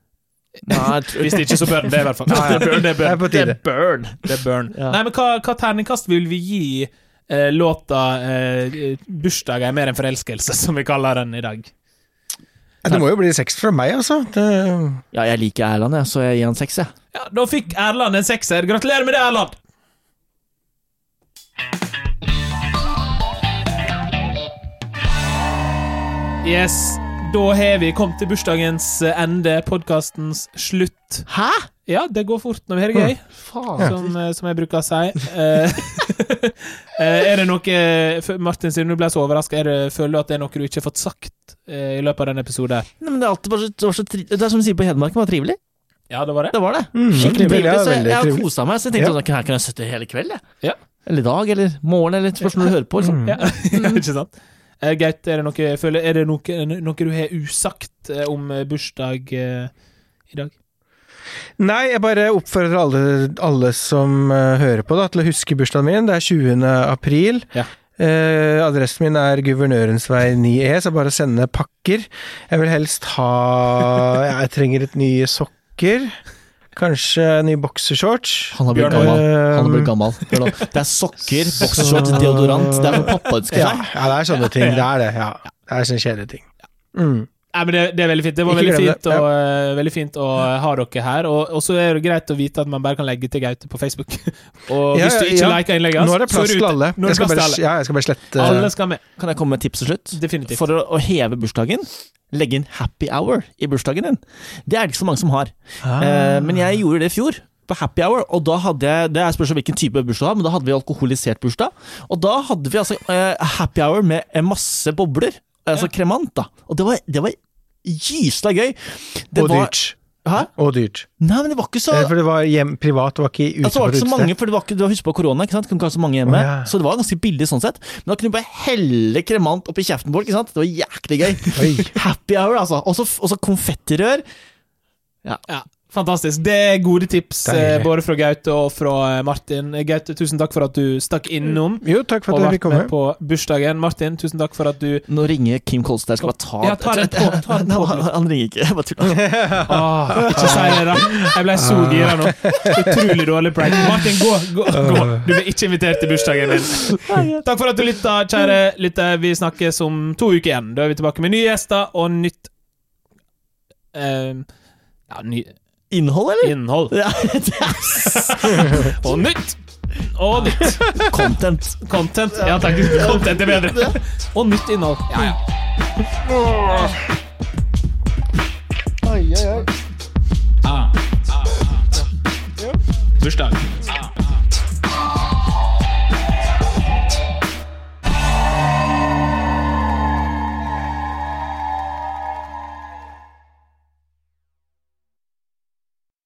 B: dagen.
A: Hvis ikke, så bør den det, i hvert fall. Det er burn, det er
C: Det er
A: burn.
C: på tide.
B: Burn.
A: Det er burn.
B: Ja.
A: Nei, men hva, hva terningkast vil vi gi eh, låta eh, 'Bursdag er mer enn forelskelse', som vi kaller den i dag?
C: Ja, det må jo bli seks fra meg, altså. Det
B: Ja, jeg liker Erland, jeg, så jeg gir han seks, jeg.
A: Ja, Da fikk Erland en sekser. Gratulerer med det, Erland! Yes, da har vi kommet til bursdagens eh, ende, podkastens slutt.
B: Hæ?
A: Ja, det går fort når vi har det gøy,
B: Faen.
A: som, som jeg bruker å si. Eh, eh, er det noe eh, Martin, siden du ble så overraska, føler du at det er noe du ikke har fått sagt eh, i løpet av denne episoden? her?
B: Nei, men det er alltid bare så, det var så tri Det er som de sier på Hedmark, det var trivelig.
A: Ja, det var det?
B: Det var det.
C: Mm,
B: Skikkelig
C: trivelig,
B: trivelig.
C: ja,
B: Så jeg,
C: veldig
B: jeg har
C: trivelig.
B: kosa meg, så jeg tenkte
C: Ja.
B: sånn, her kan jeg sitte hele kveld, jeg.
A: Ja.
B: Eller i dag, eller morgen, eller spørs når du hører på.
C: Mm.
A: Mm.
B: Liksom.
A: Ja, ikke sant? Eh, Gaute, er det noe, jeg føler, er det noe, noe du har usagt eh, om eh, bursdag eh, i dag?
C: Nei, jeg bare oppfordrer alle, alle som eh, hører på da, til å huske bursdagen min. Det er 20. april.
A: Ja.
C: Eh, adressen min er Guvernørens vei 9E, så bare sende pakker. Jeg vil helst ha ja, Jeg trenger et nye sokker. Kanskje nye boksershorts.
B: Han har blitt
A: Bjørn,
B: gammel. Han har blitt
C: eh,
B: gammel. Hør nå. Det er sokker, boksershorts, deodorant. Det er sånn pappa ønsker
C: Ja,
B: seg.
C: ja, det er sånne ting. Det er det. Ja. Det er sånne kjedelige ting. Mm.
A: Nei, men det, det er veldig fint. Det var
C: Ikke
A: veldig
C: glem
A: fint,
C: det, ja.
A: å, eh, veldig fint å eh, ha dere her. Og og så er det greit å vite at man bare kan legge til Gaute på Facebook. Og
C: Ja,
A: hvis du
C: ja,
A: ikke
C: ja.
A: liker innlegget hans,
C: Nå er det plass
A: så
C: til
A: ute.
C: alle.
A: Nå er
C: Jeg
A: det
C: skal
A: plass
C: bare,
A: til alle.
C: ja, jeg skal bare slette
A: Alle skal med.
B: Kan jeg komme med et tips til slutt?
A: Definitivt.
B: For å, å heve bursdagen, legge inn happy hour i bursdagen din. Det er det ikke så mange som har.
C: Ah.
B: Eh, men jeg gjorde det i fjor, på happy hour, og da hadde jeg Det er spørsmål hvilken type bursdag du har, men da hadde vi alkoholisert bursdag. Og da hadde vi altså eh, happy hour med eh, masse bobler, altså kremant, da. Og det var, det var gysla gøy. Det
C: Og
B: var-
C: dyrt.
B: Hæ?
C: Og dyrt.
B: Nei, men det var ikke så
C: Eh, For det var hjem, privat, det var ikke ute
B: Altså, det var
C: på
B: ikke så
C: utested.
B: mange, for det var ikke, du har husket på korona, ikke sant? kunne ikke ha så mange hjemme.
C: Å, ja.
B: Så det var ganske billig sånn sett. Men da kunne du bare helle kremant oppi kjeften på folk, ikke sant? Det var jæklig
C: Oi.
B: gøy. Happy hour, altså. Og så- Og så konfettirør.
A: Ja, fantastisk. Det er gode tips eh,
C: Deilig.
A: både fra Gaute og fra eh, Martin. Gaute, tusen takk for at du stakk innom.
C: Jo, takk for
A: Og
C: at jeg
A: vært
C: fikk komme.
A: med på bursdagen. Martin, tusen takk for at du
B: Nå ringer Kim Kolstad, jeg skal bare ta
A: Ja, ta den på, ta den på.
B: Nei, han, han ringer ikke, jeg bare tuller.
A: Åh, ikke si det, da. Jeg ble så gira nå. Utrolig dårlig prank. Martin, gå, gå, gå. Du ble ikke invitert til bursdagen min. Takk for at du lytta, kjære lytter. Vi snakkes om to uker igjen. Da er vi tilbake med nye gjester og nytt eh, Ja, ny
B: Innhold, eller?
A: innhold.
B: Ja, det
A: Og nytt! Og nytt
B: er content.
A: content. Ja takk, content er bedre. Og nytt innhold. Ja, ja. Bursdag.